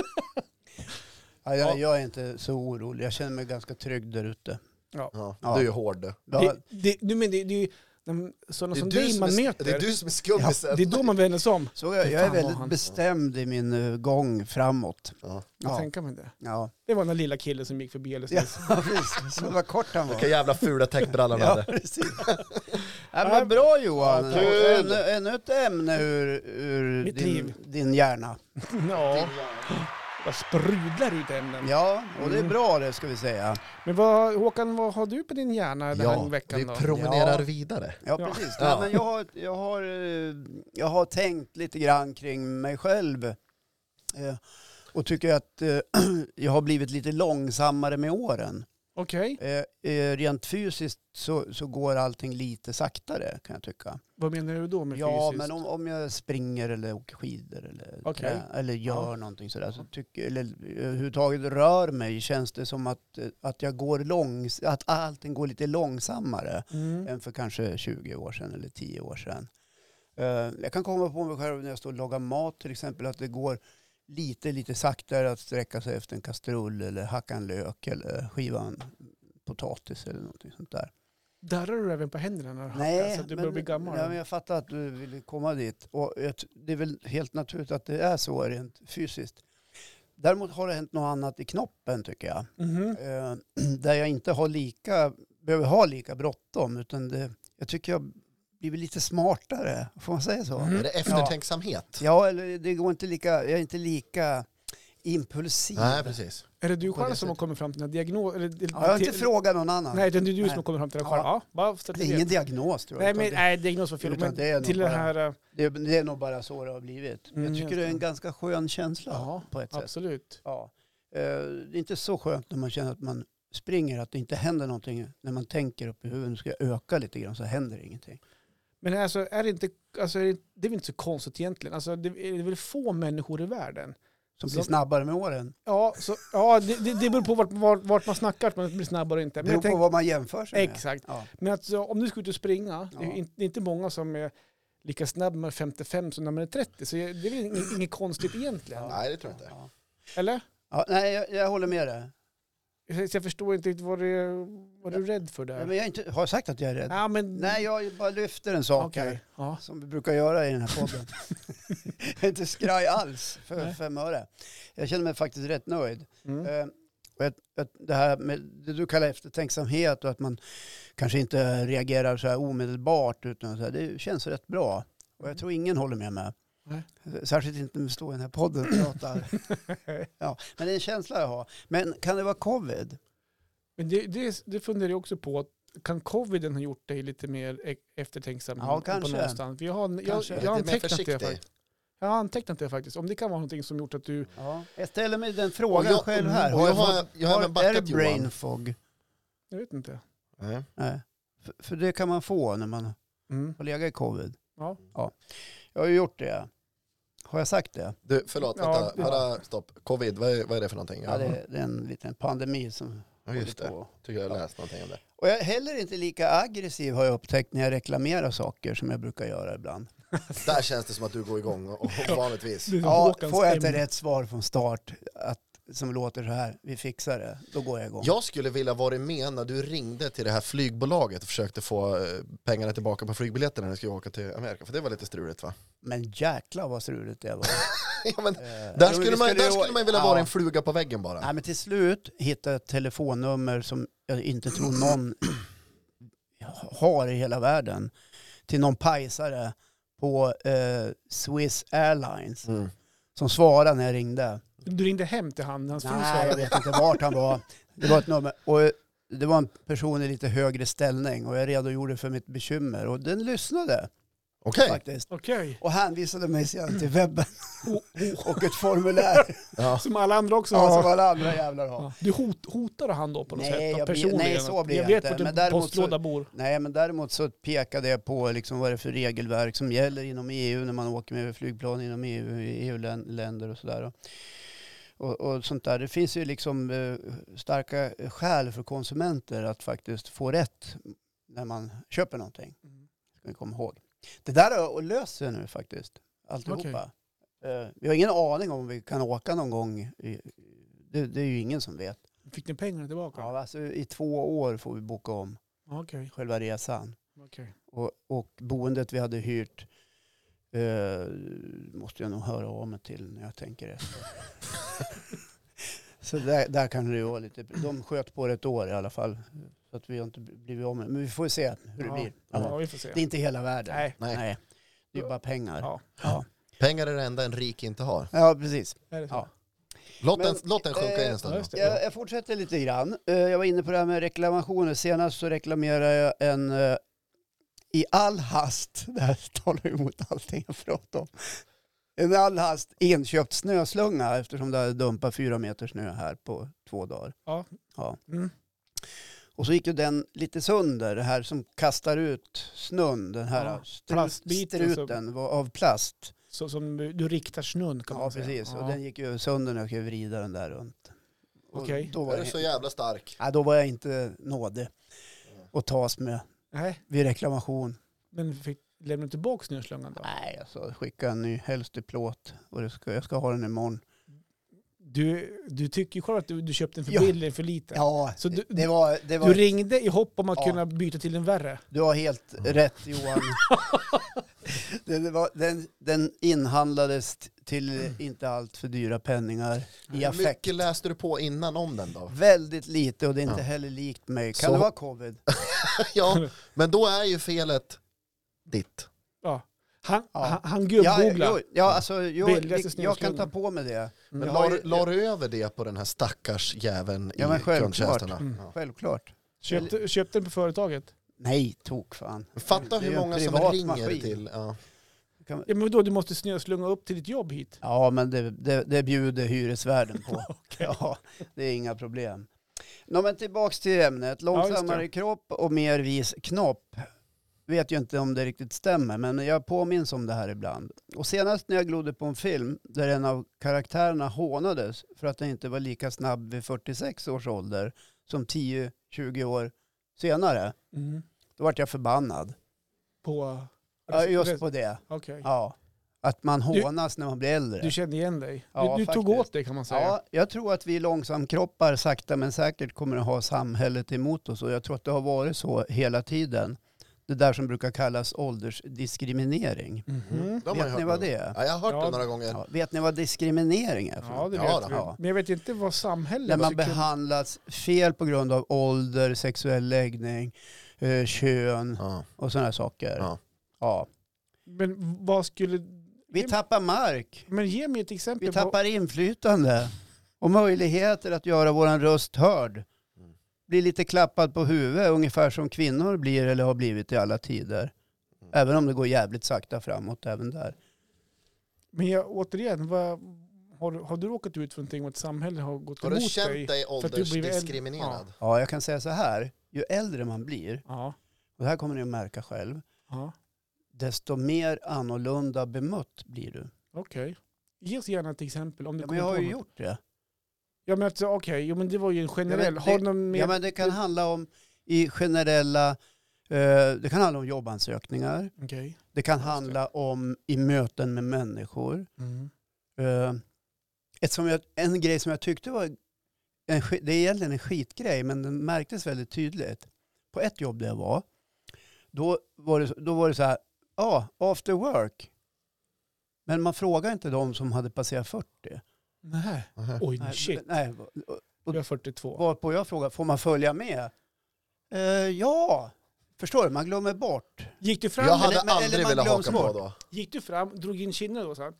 [SPEAKER 1] Ja, jag, jag är inte så orolig. Jag känner mig ganska trygg där ute.
[SPEAKER 4] Ja,
[SPEAKER 1] Ja.
[SPEAKER 4] Du är ju hård du.
[SPEAKER 1] Ja,
[SPEAKER 3] det, det, nu, men det, det är ju de- sådana
[SPEAKER 4] Det är,
[SPEAKER 3] som
[SPEAKER 4] du
[SPEAKER 3] dig
[SPEAKER 4] som
[SPEAKER 3] man
[SPEAKER 4] är,
[SPEAKER 3] möter.
[SPEAKER 4] det är du som är skummisen.
[SPEAKER 3] ja, det är då man vänder sig om.
[SPEAKER 1] Så jag,
[SPEAKER 3] Fy
[SPEAKER 1] jag är
[SPEAKER 3] fan vad
[SPEAKER 1] väldigt
[SPEAKER 3] han-
[SPEAKER 1] bestämd i min eh, gång framåt.
[SPEAKER 4] Ja.
[SPEAKER 3] Jag
[SPEAKER 1] Ja.
[SPEAKER 3] tänker mig det.
[SPEAKER 1] Ja,
[SPEAKER 3] Det var den lilla killen som gick förbi alldeles
[SPEAKER 1] ja [LAUGHS]
[SPEAKER 3] nyss.
[SPEAKER 1] precis. Så vad kort han var.
[SPEAKER 4] Vilka jävla fula täckbrallor han
[SPEAKER 1] Ja, [LAUGHS]
[SPEAKER 4] hade.
[SPEAKER 1] precis. Ja, men bra Johan.
[SPEAKER 4] Ja, kul.
[SPEAKER 1] Ännu, ännu ett ämne ur, ur
[SPEAKER 3] Mitt
[SPEAKER 1] din,
[SPEAKER 3] liv.
[SPEAKER 1] din hjärna.
[SPEAKER 3] Ja, vad sprudlar ut ämnen.
[SPEAKER 1] Ja, och det är
[SPEAKER 3] Mm.
[SPEAKER 1] bra det ska vi säga.
[SPEAKER 3] Men vad, Håkan, vad har du på din hjärna den här
[SPEAKER 4] Ja,
[SPEAKER 3] veckan
[SPEAKER 4] vi
[SPEAKER 3] då?
[SPEAKER 4] promenerar
[SPEAKER 1] Ja.
[SPEAKER 4] vidare.
[SPEAKER 1] Ja,
[SPEAKER 3] Ja.
[SPEAKER 1] precis.
[SPEAKER 4] Ja.
[SPEAKER 1] Nej, men jag, har, jag, har, eh, jag har tänkt lite grann kring mig själv eh, och tycker att eh, [CLEARS THROAT] jag har blivit lite långsammare med åren.
[SPEAKER 3] Okej,
[SPEAKER 1] Eh, eh, rent fysiskt så, så går allting lite saktare kan jag tycka.
[SPEAKER 3] vad menar du då med
[SPEAKER 1] Ja,
[SPEAKER 3] fysiskt?
[SPEAKER 1] men om, om jag springer eller åker skidor eller,
[SPEAKER 3] Okej.
[SPEAKER 1] trä- eller gör
[SPEAKER 3] Ja.
[SPEAKER 1] någonting sådär, så tycker, eller överhuvudtaget rör mig, känns det som att, eh, att, jag går långs att allting går lite långsammare
[SPEAKER 3] Mm.
[SPEAKER 1] än för kanske 20 år sedan eller 10 år sedan. Eh, Jag kan komma på mig själv när jag står och lagar mat till exempel, att det går lite, lite saktare att sträcka sig efter en kastrull eller hacka en lök eller skiva en potatis eller någonting sånt där.
[SPEAKER 3] Darrar du även på händerna när du hackar, så att Alltså, du börjar bli gammal?
[SPEAKER 1] Ja, men jag fattar att du ville komma dit. Och jag t- det är väl helt naturligt att det är så rent fysiskt. Däremot har det hänt något annat i knoppen tycker jag.
[SPEAKER 3] Mhm.
[SPEAKER 1] Eh, [CLEARS THROAT] där jag inte har lika, behöver ha lika bråttom. Utan det, jag tycker jag blivit lite smartare. Får man säga så?
[SPEAKER 3] Mm.
[SPEAKER 4] Är det eftertänksamhet?
[SPEAKER 1] Ja, eller det går inte lika, jag är inte lika impulsiv.
[SPEAKER 4] Nej, precis.
[SPEAKER 3] Är det du
[SPEAKER 1] På det
[SPEAKER 3] själv som har
[SPEAKER 1] sättet.
[SPEAKER 3] kommit fram till den här diagnosen?
[SPEAKER 1] ja, jag har inte frågat någon annan.
[SPEAKER 3] Nej, det är du
[SPEAKER 1] Nej.
[SPEAKER 3] som har kommit fram till den
[SPEAKER 1] Ja.
[SPEAKER 3] själv. Ja, bara så att
[SPEAKER 1] det
[SPEAKER 3] du
[SPEAKER 1] är
[SPEAKER 3] vet.
[SPEAKER 1] ingen diagnos tror jag.
[SPEAKER 3] Nej,
[SPEAKER 1] utan
[SPEAKER 3] men,
[SPEAKER 1] det-
[SPEAKER 3] nej, diagnos var fel.
[SPEAKER 1] utan
[SPEAKER 3] Men
[SPEAKER 1] det är nog
[SPEAKER 3] till
[SPEAKER 1] bara-
[SPEAKER 3] den här... eh,
[SPEAKER 1] Det, det är nog bara så det har blivit.
[SPEAKER 3] Mm,
[SPEAKER 1] jag tycker
[SPEAKER 3] just
[SPEAKER 1] det är en
[SPEAKER 3] det.
[SPEAKER 1] ganska skön känsla
[SPEAKER 3] Ja,
[SPEAKER 1] på ett sätt.
[SPEAKER 3] Absolut.
[SPEAKER 1] Ja. Eh, Det är inte så skönt när man känner att man springer, att det inte händer någonting. När man tänker upp i huvudet, nu ska jag öka lite grann så händer ingenting.
[SPEAKER 3] Men alltså, är det, inte, alltså, är det, det är väl inte så konstigt egentligen. Alltså, det, är det väl få människor i världen.
[SPEAKER 1] Som blir
[SPEAKER 3] Så-
[SPEAKER 1] snabbare med åren.
[SPEAKER 3] Ja, så, ja det, det, det beror på vart, vart, vart man snackar, att man blir snabbare och inte.
[SPEAKER 1] Det
[SPEAKER 3] Men
[SPEAKER 1] beror
[SPEAKER 3] jag
[SPEAKER 1] på
[SPEAKER 3] tänk,
[SPEAKER 1] vad man jämför sig med.
[SPEAKER 3] exakt.
[SPEAKER 1] Ja.
[SPEAKER 3] Men alltså, om du ska ut och springa, det är
[SPEAKER 1] Ja.
[SPEAKER 3] ju inte, det är inte många som är lika snabb när man är 55 som när man är 30. Så det är väl inget, inget konstigt egentligen.
[SPEAKER 1] Ja.
[SPEAKER 4] Nej, det tror jag inte.
[SPEAKER 1] Ja.
[SPEAKER 3] Eller?
[SPEAKER 1] Ja, nej, jag, jag håller med dig.
[SPEAKER 3] Så jag förstår inte riktigt vad du vad du är rädd för där.
[SPEAKER 1] Nej, men jag är inte, har jag sagt att jag är rädd?
[SPEAKER 3] ja, men...
[SPEAKER 1] Nej, jag bara lyfter en sak
[SPEAKER 3] Okej.
[SPEAKER 1] här.
[SPEAKER 3] Ja.
[SPEAKER 1] Som vi brukar göra i den här
[SPEAKER 3] [LAUGHS]
[SPEAKER 1] podden. jag är inte skraj alls för
[SPEAKER 3] Nej.
[SPEAKER 1] fem öre. Jag känner mig faktiskt rätt nöjd.
[SPEAKER 3] Mm.
[SPEAKER 1] Eh, och att, att det här med det du kallar eftertänksamhet och att man kanske inte reagerar så här omedelbart. Utan så här, det känns rätt bra. Och
[SPEAKER 4] Mm.
[SPEAKER 1] jag tror ingen håller med mig. Eh,
[SPEAKER 3] Nej.
[SPEAKER 1] Särskilt inte när vi står i den här podden och
[SPEAKER 4] [LAUGHS]
[SPEAKER 1] pratar. ja, men det är en känsla jag har. Men kan det vara covid?
[SPEAKER 3] Men det, det, det funderar jag också på. Kan coviden ha gjort dig lite mer e- eftertänksam?
[SPEAKER 1] Ja, kanske.
[SPEAKER 3] På någonstans? Jag, har, jag,
[SPEAKER 1] Kanske.
[SPEAKER 3] jag,
[SPEAKER 1] Lite
[SPEAKER 3] har
[SPEAKER 4] mer
[SPEAKER 3] antecknat det
[SPEAKER 4] försiktig.
[SPEAKER 3] faktiskt. Jag har antecknat det faktiskt. Om det kan vara någonting som gjort att du...
[SPEAKER 1] Ja. Jag ställer mig den
[SPEAKER 4] Och
[SPEAKER 1] frågan
[SPEAKER 4] jag-
[SPEAKER 1] själv här.
[SPEAKER 4] och jag har, jag har även
[SPEAKER 1] har, är det
[SPEAKER 4] backat
[SPEAKER 1] brain
[SPEAKER 4] Johan.
[SPEAKER 1] fog?
[SPEAKER 3] Jag vet inte.
[SPEAKER 4] Nej.
[SPEAKER 1] Nej. För, för det kan man få när man
[SPEAKER 3] Mm.
[SPEAKER 1] har legat i covid.
[SPEAKER 3] Ja.
[SPEAKER 1] Jag har ju gjort det. Har jag sagt det?
[SPEAKER 4] Du, förlåt,
[SPEAKER 3] Ja,
[SPEAKER 4] vänta,
[SPEAKER 3] det-
[SPEAKER 4] bara stopp. Covid, vad är, vad är det för någonting?
[SPEAKER 1] Ja. det, det är en liten pandemi som
[SPEAKER 4] Ja, just
[SPEAKER 1] håller
[SPEAKER 4] det.
[SPEAKER 1] på.
[SPEAKER 4] Tycker jag läst någonting om det.
[SPEAKER 1] Och jag är heller inte lika aggressiv har jag upptäckt när jag reklamerar saker som jag brukar göra ibland.
[SPEAKER 4] Där känns det som att du går igång och, och vanligtvis.
[SPEAKER 3] Det är som
[SPEAKER 1] Ja,
[SPEAKER 3] Håkans
[SPEAKER 1] får jag inte
[SPEAKER 3] ämne.
[SPEAKER 1] rätt svar från start att, som låter så här, vi fixar det, då går jag igång.
[SPEAKER 4] Jag skulle vilja vara med när du ringde till det här flygbolaget och försökte få eh, pengarna tillbaka på flygbiljetterna när du skulle åka till Amerika, för det var lite struligt va? [LAUGHS]
[SPEAKER 1] Men jäklar vad struligt det var.
[SPEAKER 4] ja, men,
[SPEAKER 1] Eh,
[SPEAKER 4] där,
[SPEAKER 1] jo,
[SPEAKER 4] skulle
[SPEAKER 1] vi
[SPEAKER 4] man, där
[SPEAKER 1] ju-
[SPEAKER 4] skulle man vilja
[SPEAKER 1] Ja.
[SPEAKER 4] vara en fluga på väggen bara.
[SPEAKER 1] Nej, men till slut hittade jag ett telefonnummer som jag inte tror någon [CLEARS THROAT] har i hela världen. Till någon pajsare på eh, Swiss Airlines
[SPEAKER 4] Mm.
[SPEAKER 1] som svarade när jag ringde.
[SPEAKER 3] Du ringde hem till han, hans fru
[SPEAKER 1] Nej, jag
[SPEAKER 3] svarade.
[SPEAKER 1] vet inte vart han var. Det var ett nummer. Och eh, det var en person i lite högre ställning och jag redogjorde för mitt bekymmer och den lyssnade
[SPEAKER 4] Okej.
[SPEAKER 1] faktiskt.
[SPEAKER 3] Okej.
[SPEAKER 1] Och hänvisade mig sedan till webben [LAUGHS]
[SPEAKER 3] Oh, oh.
[SPEAKER 1] och ett formulär
[SPEAKER 4] Ja.
[SPEAKER 3] Som alla andra också
[SPEAKER 1] ja,
[SPEAKER 3] har.
[SPEAKER 1] som alltså alla andra jävlar har.
[SPEAKER 3] Ja. Du hot, hotar han då på något
[SPEAKER 1] Nej,
[SPEAKER 3] sätt? då,
[SPEAKER 1] jag blir-
[SPEAKER 3] personligen?
[SPEAKER 1] nej, så blir jag
[SPEAKER 3] vet
[SPEAKER 1] inte,
[SPEAKER 3] vart din
[SPEAKER 1] men däremot så-
[SPEAKER 3] postlåda bor.
[SPEAKER 1] Nej, men däremot så pekade jag på liksom vad det är för regelverk som gäller inom EU när man åker med flygplan inom E EU, EU-länder och sådär. Och, och sånt där. Det finns ju liksom eh, starka skäl för konsumenter att faktiskt få rätt när man köper någonting. Ska vi komma ihåg. Det där har- och löser jag nu faktiskt, alltihopa. Eh, vi har ingen aning om vi kan åka någon gång. i- Det, det är ju ingen som vet.
[SPEAKER 3] Fick ni pengarna tillbaka?
[SPEAKER 1] Ja, alltså, I två år får vi boka om
[SPEAKER 3] Okej.
[SPEAKER 1] själva resan.
[SPEAKER 3] okej.
[SPEAKER 1] Och, och boendet vi hade hyrt eh, måste jag nog höra av mig till när jag tänker efter. [LAUGHS] så där, där kan det ju vara lite. De sköt på det ett år i alla fall. Så att vi har inte blivit av med Men vi får se hur det
[SPEAKER 3] Ja.
[SPEAKER 1] blir. Ja.
[SPEAKER 3] Ja, vi får se.
[SPEAKER 1] Det är inte hela världen.
[SPEAKER 3] Nej,
[SPEAKER 4] Nej.
[SPEAKER 1] Det är bara pengar. Ja,
[SPEAKER 3] ja.
[SPEAKER 4] Pengar är det enda en rik inte har.
[SPEAKER 1] precis.
[SPEAKER 3] Är det så?
[SPEAKER 1] Ja.
[SPEAKER 4] Låt,
[SPEAKER 1] Men,
[SPEAKER 4] den, låt den sjunka in
[SPEAKER 1] eh,
[SPEAKER 4] en stund.
[SPEAKER 3] ja,
[SPEAKER 4] då.
[SPEAKER 3] just det.
[SPEAKER 1] Jag, jag fortsätter lite grann. Eh, jag var inne på det här med reklamationer. Senast så reklamerade jag en eh, i all hast, [LAUGHS] det här talar ju emot allting jag pratar om, en i all hast inköpt snöslunga eftersom det hade dumpat fyra meter snö här på två dagar.
[SPEAKER 3] Mm.
[SPEAKER 1] Och så gick ju den lite sönder, det här som kastar ut snön, den här
[SPEAKER 3] Ja,
[SPEAKER 1] stru-
[SPEAKER 3] plastbiten som-
[SPEAKER 1] struten var av plast.
[SPEAKER 3] Så som du du riktar snön kan
[SPEAKER 1] Ja,
[SPEAKER 3] man säga.
[SPEAKER 1] precis.
[SPEAKER 3] Ja.
[SPEAKER 1] Och den gick ju sönder när jag kunde vrida den där runt. Och
[SPEAKER 3] Okej.
[SPEAKER 1] Då var
[SPEAKER 4] Är
[SPEAKER 1] det
[SPEAKER 4] du så jävla stark?
[SPEAKER 1] Ja, då var jag inte nådig att tas med
[SPEAKER 3] Nej,
[SPEAKER 1] vid reklamation.
[SPEAKER 3] men fick, lämnade du tillbaka snöslungan då?
[SPEAKER 1] Nej, alltså skicka en ny, helst i plåt. Och det ska, jag ska ha den imorgon.
[SPEAKER 3] Du, du tycker ju själv att du, du köpte den för
[SPEAKER 1] Ja.
[SPEAKER 3] billig, för liten.
[SPEAKER 1] Ja,
[SPEAKER 3] Så du-
[SPEAKER 1] det var, det var,
[SPEAKER 3] Du
[SPEAKER 1] du,
[SPEAKER 3] ringde i hopp om att
[SPEAKER 1] Ja.
[SPEAKER 3] kunna byta till en värre.
[SPEAKER 1] har helt rätt
[SPEAKER 3] [LAUGHS]
[SPEAKER 1] Johan. den, det var, den, den inhandlades t- till inte allt för dyra penningar i
[SPEAKER 4] Hur
[SPEAKER 1] affekt.
[SPEAKER 4] mycket läste du på innan om den
[SPEAKER 1] [LAUGHS]
[SPEAKER 4] då?
[SPEAKER 1] Väldigt lite och det är inte
[SPEAKER 4] Ja.
[SPEAKER 1] heller likt mig. Kan
[SPEAKER 4] Så-
[SPEAKER 1] det vara covid?
[SPEAKER 4] ja, men då är ju felet ditt.
[SPEAKER 3] Ja. Han,
[SPEAKER 1] Ja.
[SPEAKER 3] han, han
[SPEAKER 1] Ja,
[SPEAKER 3] gubbgooglar.
[SPEAKER 1] jo, ja, alltså, jo,
[SPEAKER 3] Billigaste
[SPEAKER 1] vi- jag kan ta
[SPEAKER 3] snöslungan.
[SPEAKER 1] på mig det.
[SPEAKER 4] Men
[SPEAKER 1] Jag
[SPEAKER 4] la,
[SPEAKER 1] har ju-
[SPEAKER 4] du- la du över det på den här stackars jäveln
[SPEAKER 1] Ja, men
[SPEAKER 4] i
[SPEAKER 1] självklart.
[SPEAKER 4] kundtjänsterna?
[SPEAKER 3] Mm.
[SPEAKER 4] Ja.
[SPEAKER 1] Självklart.
[SPEAKER 3] Köpte, köpte den på företaget.
[SPEAKER 1] Nej, tok fan.
[SPEAKER 4] Fatta
[SPEAKER 1] Det är ju
[SPEAKER 4] hur
[SPEAKER 1] en
[SPEAKER 4] många som
[SPEAKER 1] privat
[SPEAKER 4] ringer
[SPEAKER 1] maskin.
[SPEAKER 4] till. Ja.
[SPEAKER 1] Kan-
[SPEAKER 3] Ja, men då du måste snöslunga upp till ditt jobb hit.
[SPEAKER 1] Ja, men det, det, det bjuder hyresvärden på.
[SPEAKER 3] [LAUGHS]
[SPEAKER 1] ja, det är inga problem. Nå, men tillbaks till ämnet.
[SPEAKER 3] just det.
[SPEAKER 1] Långsammare kropp och mer vis knopp. Vet ju inte om det riktigt stämmer, men jag påminns om det här ibland. Och senast när jag glodde på en film där en av karaktärerna hånades för att den inte var lika snabb vid 46 års ålder som 10-20 år senare,
[SPEAKER 3] Mm.
[SPEAKER 1] då vart jag förbannad.
[SPEAKER 3] På...
[SPEAKER 1] Ja, just på det.
[SPEAKER 3] Okej.
[SPEAKER 1] Ja. Att man hånas när man blir äldre.
[SPEAKER 3] Du kände igen dig.
[SPEAKER 1] Ja,
[SPEAKER 3] du du tog
[SPEAKER 1] faktiskt.
[SPEAKER 3] åt dig kan man säga.
[SPEAKER 1] Ja, jag tror att vi långsamkroppar sakta men säkert kommer att ha samhället emot oss och jag tror att det har varit så hela tiden. Det där som brukar kallas åldersdiskriminering.
[SPEAKER 3] Mhm.
[SPEAKER 4] De har jag
[SPEAKER 1] Vet ni vad
[SPEAKER 4] hört några
[SPEAKER 1] det
[SPEAKER 4] gånger.
[SPEAKER 1] är?
[SPEAKER 4] Ja, jag har hört
[SPEAKER 3] Ja.
[SPEAKER 4] det några gånger.
[SPEAKER 1] Ja, vet ni vad diskriminering är? För
[SPEAKER 3] Ja,
[SPEAKER 1] något?
[SPEAKER 3] det vet
[SPEAKER 4] Ja,
[SPEAKER 3] jag.
[SPEAKER 4] då.
[SPEAKER 1] Ja.
[SPEAKER 3] Men jag vet inte vad samhället...
[SPEAKER 1] När man
[SPEAKER 3] tycker-
[SPEAKER 1] behandlas fel på grund av ålder, sexuell läggning, eh, kön
[SPEAKER 4] Ja.
[SPEAKER 1] och sådana saker.
[SPEAKER 4] Ja.
[SPEAKER 1] Ja.
[SPEAKER 3] Men vad skulle...
[SPEAKER 1] Vi tappar mark,
[SPEAKER 3] Men ge mig ett exempel.
[SPEAKER 1] vi tappar inflytande och möjligheter att göra vår röst hörd. Bli lite klappad på huvudet, ungefär som kvinnor blir eller har blivit i alla tider. Även om det går jävligt sakta framåt även där.
[SPEAKER 3] Men jag, återigen, vad, har, du- har du råkat ut för någonting och ett samhälle har gått
[SPEAKER 4] Har
[SPEAKER 3] emot
[SPEAKER 4] du känt
[SPEAKER 3] dig?
[SPEAKER 4] dig
[SPEAKER 3] att du blivit äldre?
[SPEAKER 4] åldersdiskriminerad?
[SPEAKER 1] Ja, jag kan säga så här, ju äldre man blir,
[SPEAKER 3] Ja.
[SPEAKER 1] och det här kommer ni att märka själv,
[SPEAKER 3] ja.
[SPEAKER 1] desto mer annorlunda bemött blir du.
[SPEAKER 3] Okej. Ge oss gärna ett exempel. Om du
[SPEAKER 1] Ja, men jag har
[SPEAKER 3] kommer på
[SPEAKER 1] ju
[SPEAKER 3] något.
[SPEAKER 1] gjort det.
[SPEAKER 3] Ja, men alltså, okej, jo, men det var ju en generell.
[SPEAKER 1] det-
[SPEAKER 3] har du någon mer?
[SPEAKER 1] Ja, men det kan handla om i generella, eh, det kan handla om jobbansökningar,
[SPEAKER 3] Okej.
[SPEAKER 1] det kan handla om i möten med människor.
[SPEAKER 3] Mm.
[SPEAKER 1] Eh, ett som jag, en grej som jag tyckte var, en, sk- det är egentligen en skitgrej, men den märktes väldigt tydligt. På ett jobb där jag var, då var det, då var det så här, ja, after work. Men man frågar inte de som hade passerat 40.
[SPEAKER 3] Nej.
[SPEAKER 4] Nähä.
[SPEAKER 3] Oj,
[SPEAKER 1] Nej,
[SPEAKER 3] shit.
[SPEAKER 1] Nej,
[SPEAKER 3] Jag är 42.
[SPEAKER 1] Varpå jag frågar, får man följa med? Eh, ja, förstår du, man glömmer bort.
[SPEAKER 3] Gick du fram,
[SPEAKER 4] [LAUGHS] Jag hade
[SPEAKER 1] eller man
[SPEAKER 4] aldrig velat
[SPEAKER 1] glöms
[SPEAKER 4] haka på
[SPEAKER 1] bort.
[SPEAKER 4] då.
[SPEAKER 3] gick du fram drog in kinderna då så här?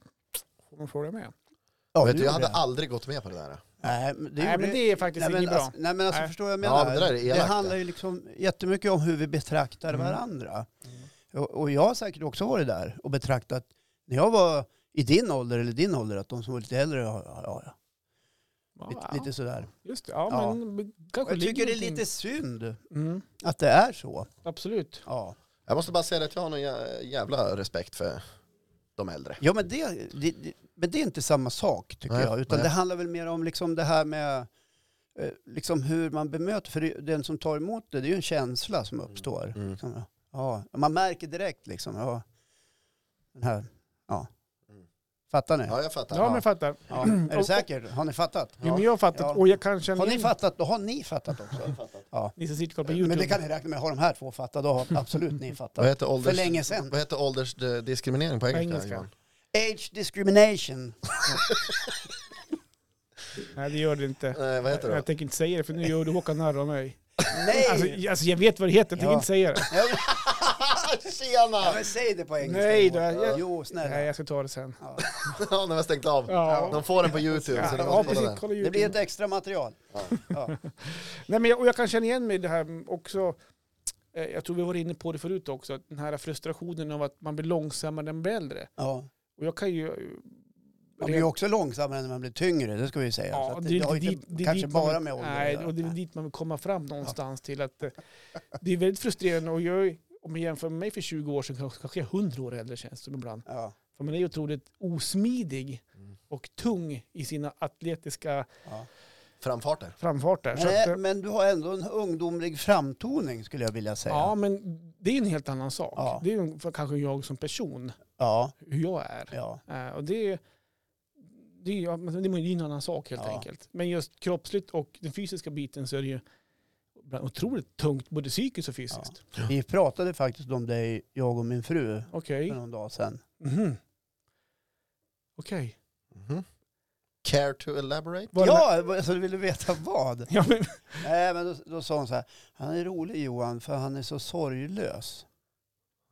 [SPEAKER 3] Får man fråga med?
[SPEAKER 1] Ja,
[SPEAKER 4] Vet du,
[SPEAKER 1] gjorde
[SPEAKER 4] jag hade
[SPEAKER 1] jag.
[SPEAKER 4] aldrig gått med på det där.
[SPEAKER 1] Nej, men det,
[SPEAKER 3] Nej,
[SPEAKER 1] gjorde
[SPEAKER 3] men det
[SPEAKER 1] jag.
[SPEAKER 3] är faktiskt
[SPEAKER 1] Nej, men
[SPEAKER 3] inget bra.
[SPEAKER 1] alltså, nej, men alltså
[SPEAKER 3] Nej.
[SPEAKER 1] förstår du vad jag
[SPEAKER 4] Ja,
[SPEAKER 1] menar?
[SPEAKER 4] det där är elakt,
[SPEAKER 1] det
[SPEAKER 4] det.
[SPEAKER 1] handlar ju liksom jättemycket om hur vi betraktar
[SPEAKER 3] Mm.
[SPEAKER 1] varandra.
[SPEAKER 3] Mm.
[SPEAKER 1] Och, och jag har säkert också varit där och betraktat, när jag var i din ålder eller din ålder, att de som var lite äldre, ja, ja, ja, ja.
[SPEAKER 3] Ja,
[SPEAKER 1] Lite, lite sådär.
[SPEAKER 3] Just det, ja,
[SPEAKER 1] Ja.
[SPEAKER 3] men
[SPEAKER 1] Och
[SPEAKER 3] kanske
[SPEAKER 1] jag tycker det är
[SPEAKER 3] ligger
[SPEAKER 1] lite synd
[SPEAKER 3] någonting- Mm,
[SPEAKER 1] att det är så.
[SPEAKER 3] absolut.
[SPEAKER 1] Ja.
[SPEAKER 4] Jag måste bara säga att jag har någon jä- jävla respekt för de äldre.
[SPEAKER 1] Ja, men det, det, det, men det är inte samma sak tycker
[SPEAKER 4] Nej,
[SPEAKER 1] jag. Utan
[SPEAKER 4] nej.
[SPEAKER 1] det handlar väl mer om liksom det här med eh, liksom hur man bemöter. För det- den som tar emot det, det är ju en känsla som uppstår.
[SPEAKER 4] Mm.
[SPEAKER 1] Liksom, ja, man märker direkt liksom. Ja, den här, ja.
[SPEAKER 4] Mm.
[SPEAKER 1] Fattar ni? Ja.
[SPEAKER 4] Ja, jag fattar.
[SPEAKER 3] Ja, men jag fattar.
[SPEAKER 1] Är du
[SPEAKER 3] Och-
[SPEAKER 1] säker? Har ni fattat?
[SPEAKER 3] Jo, men jag har fattat
[SPEAKER 1] Ja.
[SPEAKER 3] och jag kan känna
[SPEAKER 1] Har ni
[SPEAKER 3] igen-
[SPEAKER 1] fattat, då har ni fattat också.
[SPEAKER 3] Ni som sitter och kollar på YouTube.
[SPEAKER 1] Men det kan ni räkna med. Har de här två fattat, då har absolut ni
[SPEAKER 4] Vad
[SPEAKER 1] fattat.
[SPEAKER 4] heter,
[SPEAKER 1] För
[SPEAKER 4] ålders,
[SPEAKER 1] länge sedan.
[SPEAKER 4] vad heter åldersdiskriminering på
[SPEAKER 3] På
[SPEAKER 4] engelska?
[SPEAKER 3] engelska.
[SPEAKER 4] Johan?
[SPEAKER 1] Age discrimination.
[SPEAKER 3] Nej, det gör det inte.
[SPEAKER 4] Nej, Eh, vad heter det?
[SPEAKER 3] Jag tänker inte säga det för nu gör du Håkan narr av mig.
[SPEAKER 1] Nej!
[SPEAKER 3] Alltså, jag- alltså jag vet vad det heter, jag tänker
[SPEAKER 1] Ja.
[SPEAKER 3] inte säga det.
[SPEAKER 1] Ja,
[SPEAKER 4] Ah, Tjena!
[SPEAKER 1] men säg det på engelska.
[SPEAKER 3] Nej,
[SPEAKER 1] Johan.
[SPEAKER 3] då, jag-
[SPEAKER 1] Jo, snälla.
[SPEAKER 3] Nej, jag ska ta det sen.
[SPEAKER 1] Ja.
[SPEAKER 4] [LAUGHS] Ja, när vi har stängt av.
[SPEAKER 3] Ja,
[SPEAKER 4] De får den på YouTube. Så
[SPEAKER 3] ja,
[SPEAKER 4] ni
[SPEAKER 3] ja
[SPEAKER 4] måste kolla
[SPEAKER 3] precis.
[SPEAKER 4] den.
[SPEAKER 3] Kolla
[SPEAKER 1] Det blir
[SPEAKER 3] YouTube.
[SPEAKER 1] ett extra material.
[SPEAKER 3] Nej, men jag, och jag kan känna igen mig i det här också. Eh, Jag tror vi var inne på det förut också, att den här frustrationen av att man blir långsammare när man blir äldre.
[SPEAKER 1] Ja.
[SPEAKER 3] Och jag kan ju... eh,
[SPEAKER 1] Man blir ju också långsammare när man blir tyngre, det ska vi ju säga.
[SPEAKER 3] Ja,
[SPEAKER 1] så att det,
[SPEAKER 3] det är lite
[SPEAKER 1] har ju
[SPEAKER 3] dit-
[SPEAKER 1] inte
[SPEAKER 3] det är
[SPEAKER 1] kanske
[SPEAKER 3] dit man
[SPEAKER 1] bara
[SPEAKER 3] vill-
[SPEAKER 1] med åldern
[SPEAKER 3] Nej,
[SPEAKER 1] att göra.
[SPEAKER 3] och det är dit man vill komma fram någonstans till. att eh, Det är väldigt frustrerande och jag, om jag jämför med mig för 20 år sedan kanske kanske jag är 100 år äldre känns det som ibland.
[SPEAKER 1] Ja,
[SPEAKER 3] För man är ju otroligt osmidig
[SPEAKER 4] Mm.
[SPEAKER 3] och tung i sina atletiska
[SPEAKER 1] ja.
[SPEAKER 4] Framfarter.
[SPEAKER 3] framfarter. Så att,
[SPEAKER 1] Men,
[SPEAKER 3] eh,
[SPEAKER 1] men du har ändå en ungdomlig framtoning skulle jag vilja säga.
[SPEAKER 3] ja,
[SPEAKER 1] Ja,
[SPEAKER 3] men det är en helt annan sak.
[SPEAKER 1] Ja.
[SPEAKER 3] Det är ju för kanske jag som person,
[SPEAKER 1] ja.
[SPEAKER 3] hur jag är.
[SPEAKER 1] ja.
[SPEAKER 3] Eh, Och det är det är ju ja, men det är ju en annan sak helt
[SPEAKER 1] Ja.
[SPEAKER 3] enkelt. Men just kroppsligt och den fysiska biten så är det ju ibland otroligt tungt både psykiskt och fysiskt.
[SPEAKER 1] Vi pratade faktiskt om dig, jag och min fru,
[SPEAKER 3] Okej.
[SPEAKER 1] för någon dag sedan.
[SPEAKER 3] Mhm. Okej.
[SPEAKER 4] Mhm. Care to elaborate?
[SPEAKER 3] Var det
[SPEAKER 1] ja, så du ville veta vad?
[SPEAKER 3] [LAUGHS] Ja, men,
[SPEAKER 1] Nej, men då, då sa hon så här, han är rolig Johan för han är så sorglös.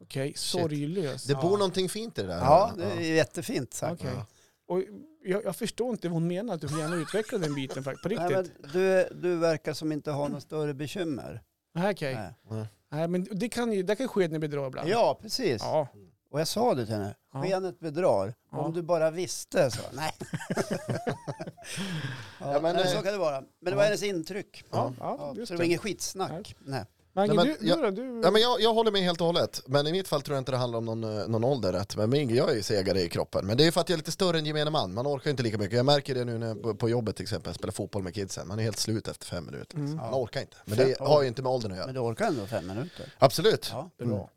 [SPEAKER 3] Okej, sorglös.
[SPEAKER 4] Det
[SPEAKER 1] Ja.
[SPEAKER 4] bor någonting fint i det där.
[SPEAKER 1] Ja, det är jättefint sagt.
[SPEAKER 3] Okej. Och jag, jag förstår inte vad hon menar, att du får gärna utveckla den biten faktiskt. På riktigt.
[SPEAKER 1] Nej,
[SPEAKER 3] Nej,
[SPEAKER 1] men du, du verkar som inte har några större bekymmer.
[SPEAKER 3] Okej. Nej.
[SPEAKER 1] Nej.
[SPEAKER 3] men det kan ju, det kan ske när vi drar ibland.
[SPEAKER 1] Ja, precis.
[SPEAKER 3] Ja.
[SPEAKER 1] Och jag sa det till henne,
[SPEAKER 3] Ja.
[SPEAKER 1] skenet bedrar.
[SPEAKER 3] Ja.
[SPEAKER 1] Om du bara visste så. Nej.
[SPEAKER 3] [LAUGHS]
[SPEAKER 1] ja,
[SPEAKER 4] Ja, men,
[SPEAKER 1] men,
[SPEAKER 4] eh,
[SPEAKER 1] så kan det vara. Men det var
[SPEAKER 3] ja.
[SPEAKER 1] hennes intryck.
[SPEAKER 3] Ja,
[SPEAKER 1] Ja,
[SPEAKER 3] ja,
[SPEAKER 1] så
[SPEAKER 3] just
[SPEAKER 1] det var
[SPEAKER 3] det.
[SPEAKER 1] inget skitsnack. Nej.
[SPEAKER 3] Mange,
[SPEAKER 4] Nej,
[SPEAKER 3] du,
[SPEAKER 4] men
[SPEAKER 3] du
[SPEAKER 4] jag-
[SPEAKER 3] då? Du,
[SPEAKER 4] Ja, men jag, jag håller med helt och hållet. Men i mitt fall tror jag inte det handlar om någon, eh, någon ålder rätt. Men min, jag är ju segare i kroppen. Men det är för att jag är lite större än gemene man. Man orkar inte lika mycket. Jag märker det nu när jag, på, på jobbet till exempel. Jag spelar fotboll med kidsen. Man är helt slut efter fem minuter.
[SPEAKER 3] Mm.
[SPEAKER 4] Man orkar inte. Men det har ju inte med åldern att
[SPEAKER 1] Men
[SPEAKER 4] göra.
[SPEAKER 1] du orkar ändå fem minuter.
[SPEAKER 4] Absolut.
[SPEAKER 1] Ja.
[SPEAKER 3] Bra.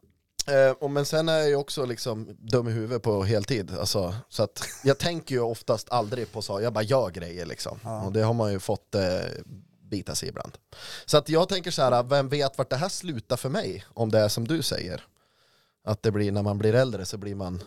[SPEAKER 4] Eh, och men sen är jag ju också liksom dum i huvudet på heltid. Alltså, så att [LAUGHS] jag tänker ju oftast aldrig på så, jag bara gör grejer liksom.
[SPEAKER 1] Ja.
[SPEAKER 4] Och det har man ju fått eh, bita sig ibland. Så att jag tänker så här, eh, vem vet vart det här slutar för mig? Om det är som du säger. Att det blir när man blir äldre så blir man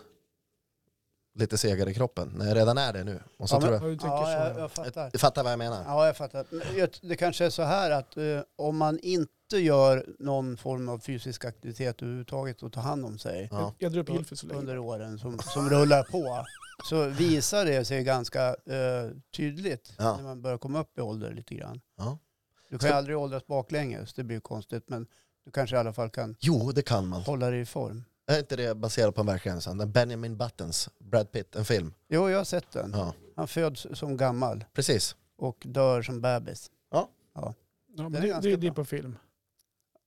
[SPEAKER 4] lite segare i kroppen. När jag redan är det nu. Och så
[SPEAKER 1] Ja, men-
[SPEAKER 4] tror
[SPEAKER 3] Ja, du tycker
[SPEAKER 1] Ja, jag,
[SPEAKER 3] så.
[SPEAKER 1] jag fattar.
[SPEAKER 4] jag, du fattar vad jag menar?
[SPEAKER 1] Ja, jag fattar. Men jag- Det kanske är så här att eh, om man inte gör någon form av fysisk aktivitet överhuvudtaget och tar hand om sig
[SPEAKER 4] Ja.
[SPEAKER 3] Jag drog upp Gylfi så länge.
[SPEAKER 1] under åren som, som rullar på så visar det sig ganska eh, tydligt
[SPEAKER 4] Ja.
[SPEAKER 1] när man börjar komma upp i ålder lite grann.
[SPEAKER 4] Ja.
[SPEAKER 1] Du kan ju
[SPEAKER 4] Så-
[SPEAKER 1] aldrig åldras baklänges, det blir ju konstigt, men du kanske i alla fall kan
[SPEAKER 4] Jo, det kan man.
[SPEAKER 1] hålla dig i form.
[SPEAKER 4] Är inte det baserat på en verklig händelse? Den Benjamin Buttons, Brad Pitt, en film.
[SPEAKER 1] Jo, jag har sett den.
[SPEAKER 4] Ja,
[SPEAKER 1] Han föds som gammal
[SPEAKER 4] precis.
[SPEAKER 1] och dör som bebis.
[SPEAKER 3] Ja, men
[SPEAKER 1] Den är
[SPEAKER 3] det,
[SPEAKER 1] ganska
[SPEAKER 3] det, det är
[SPEAKER 1] bra.
[SPEAKER 3] på film.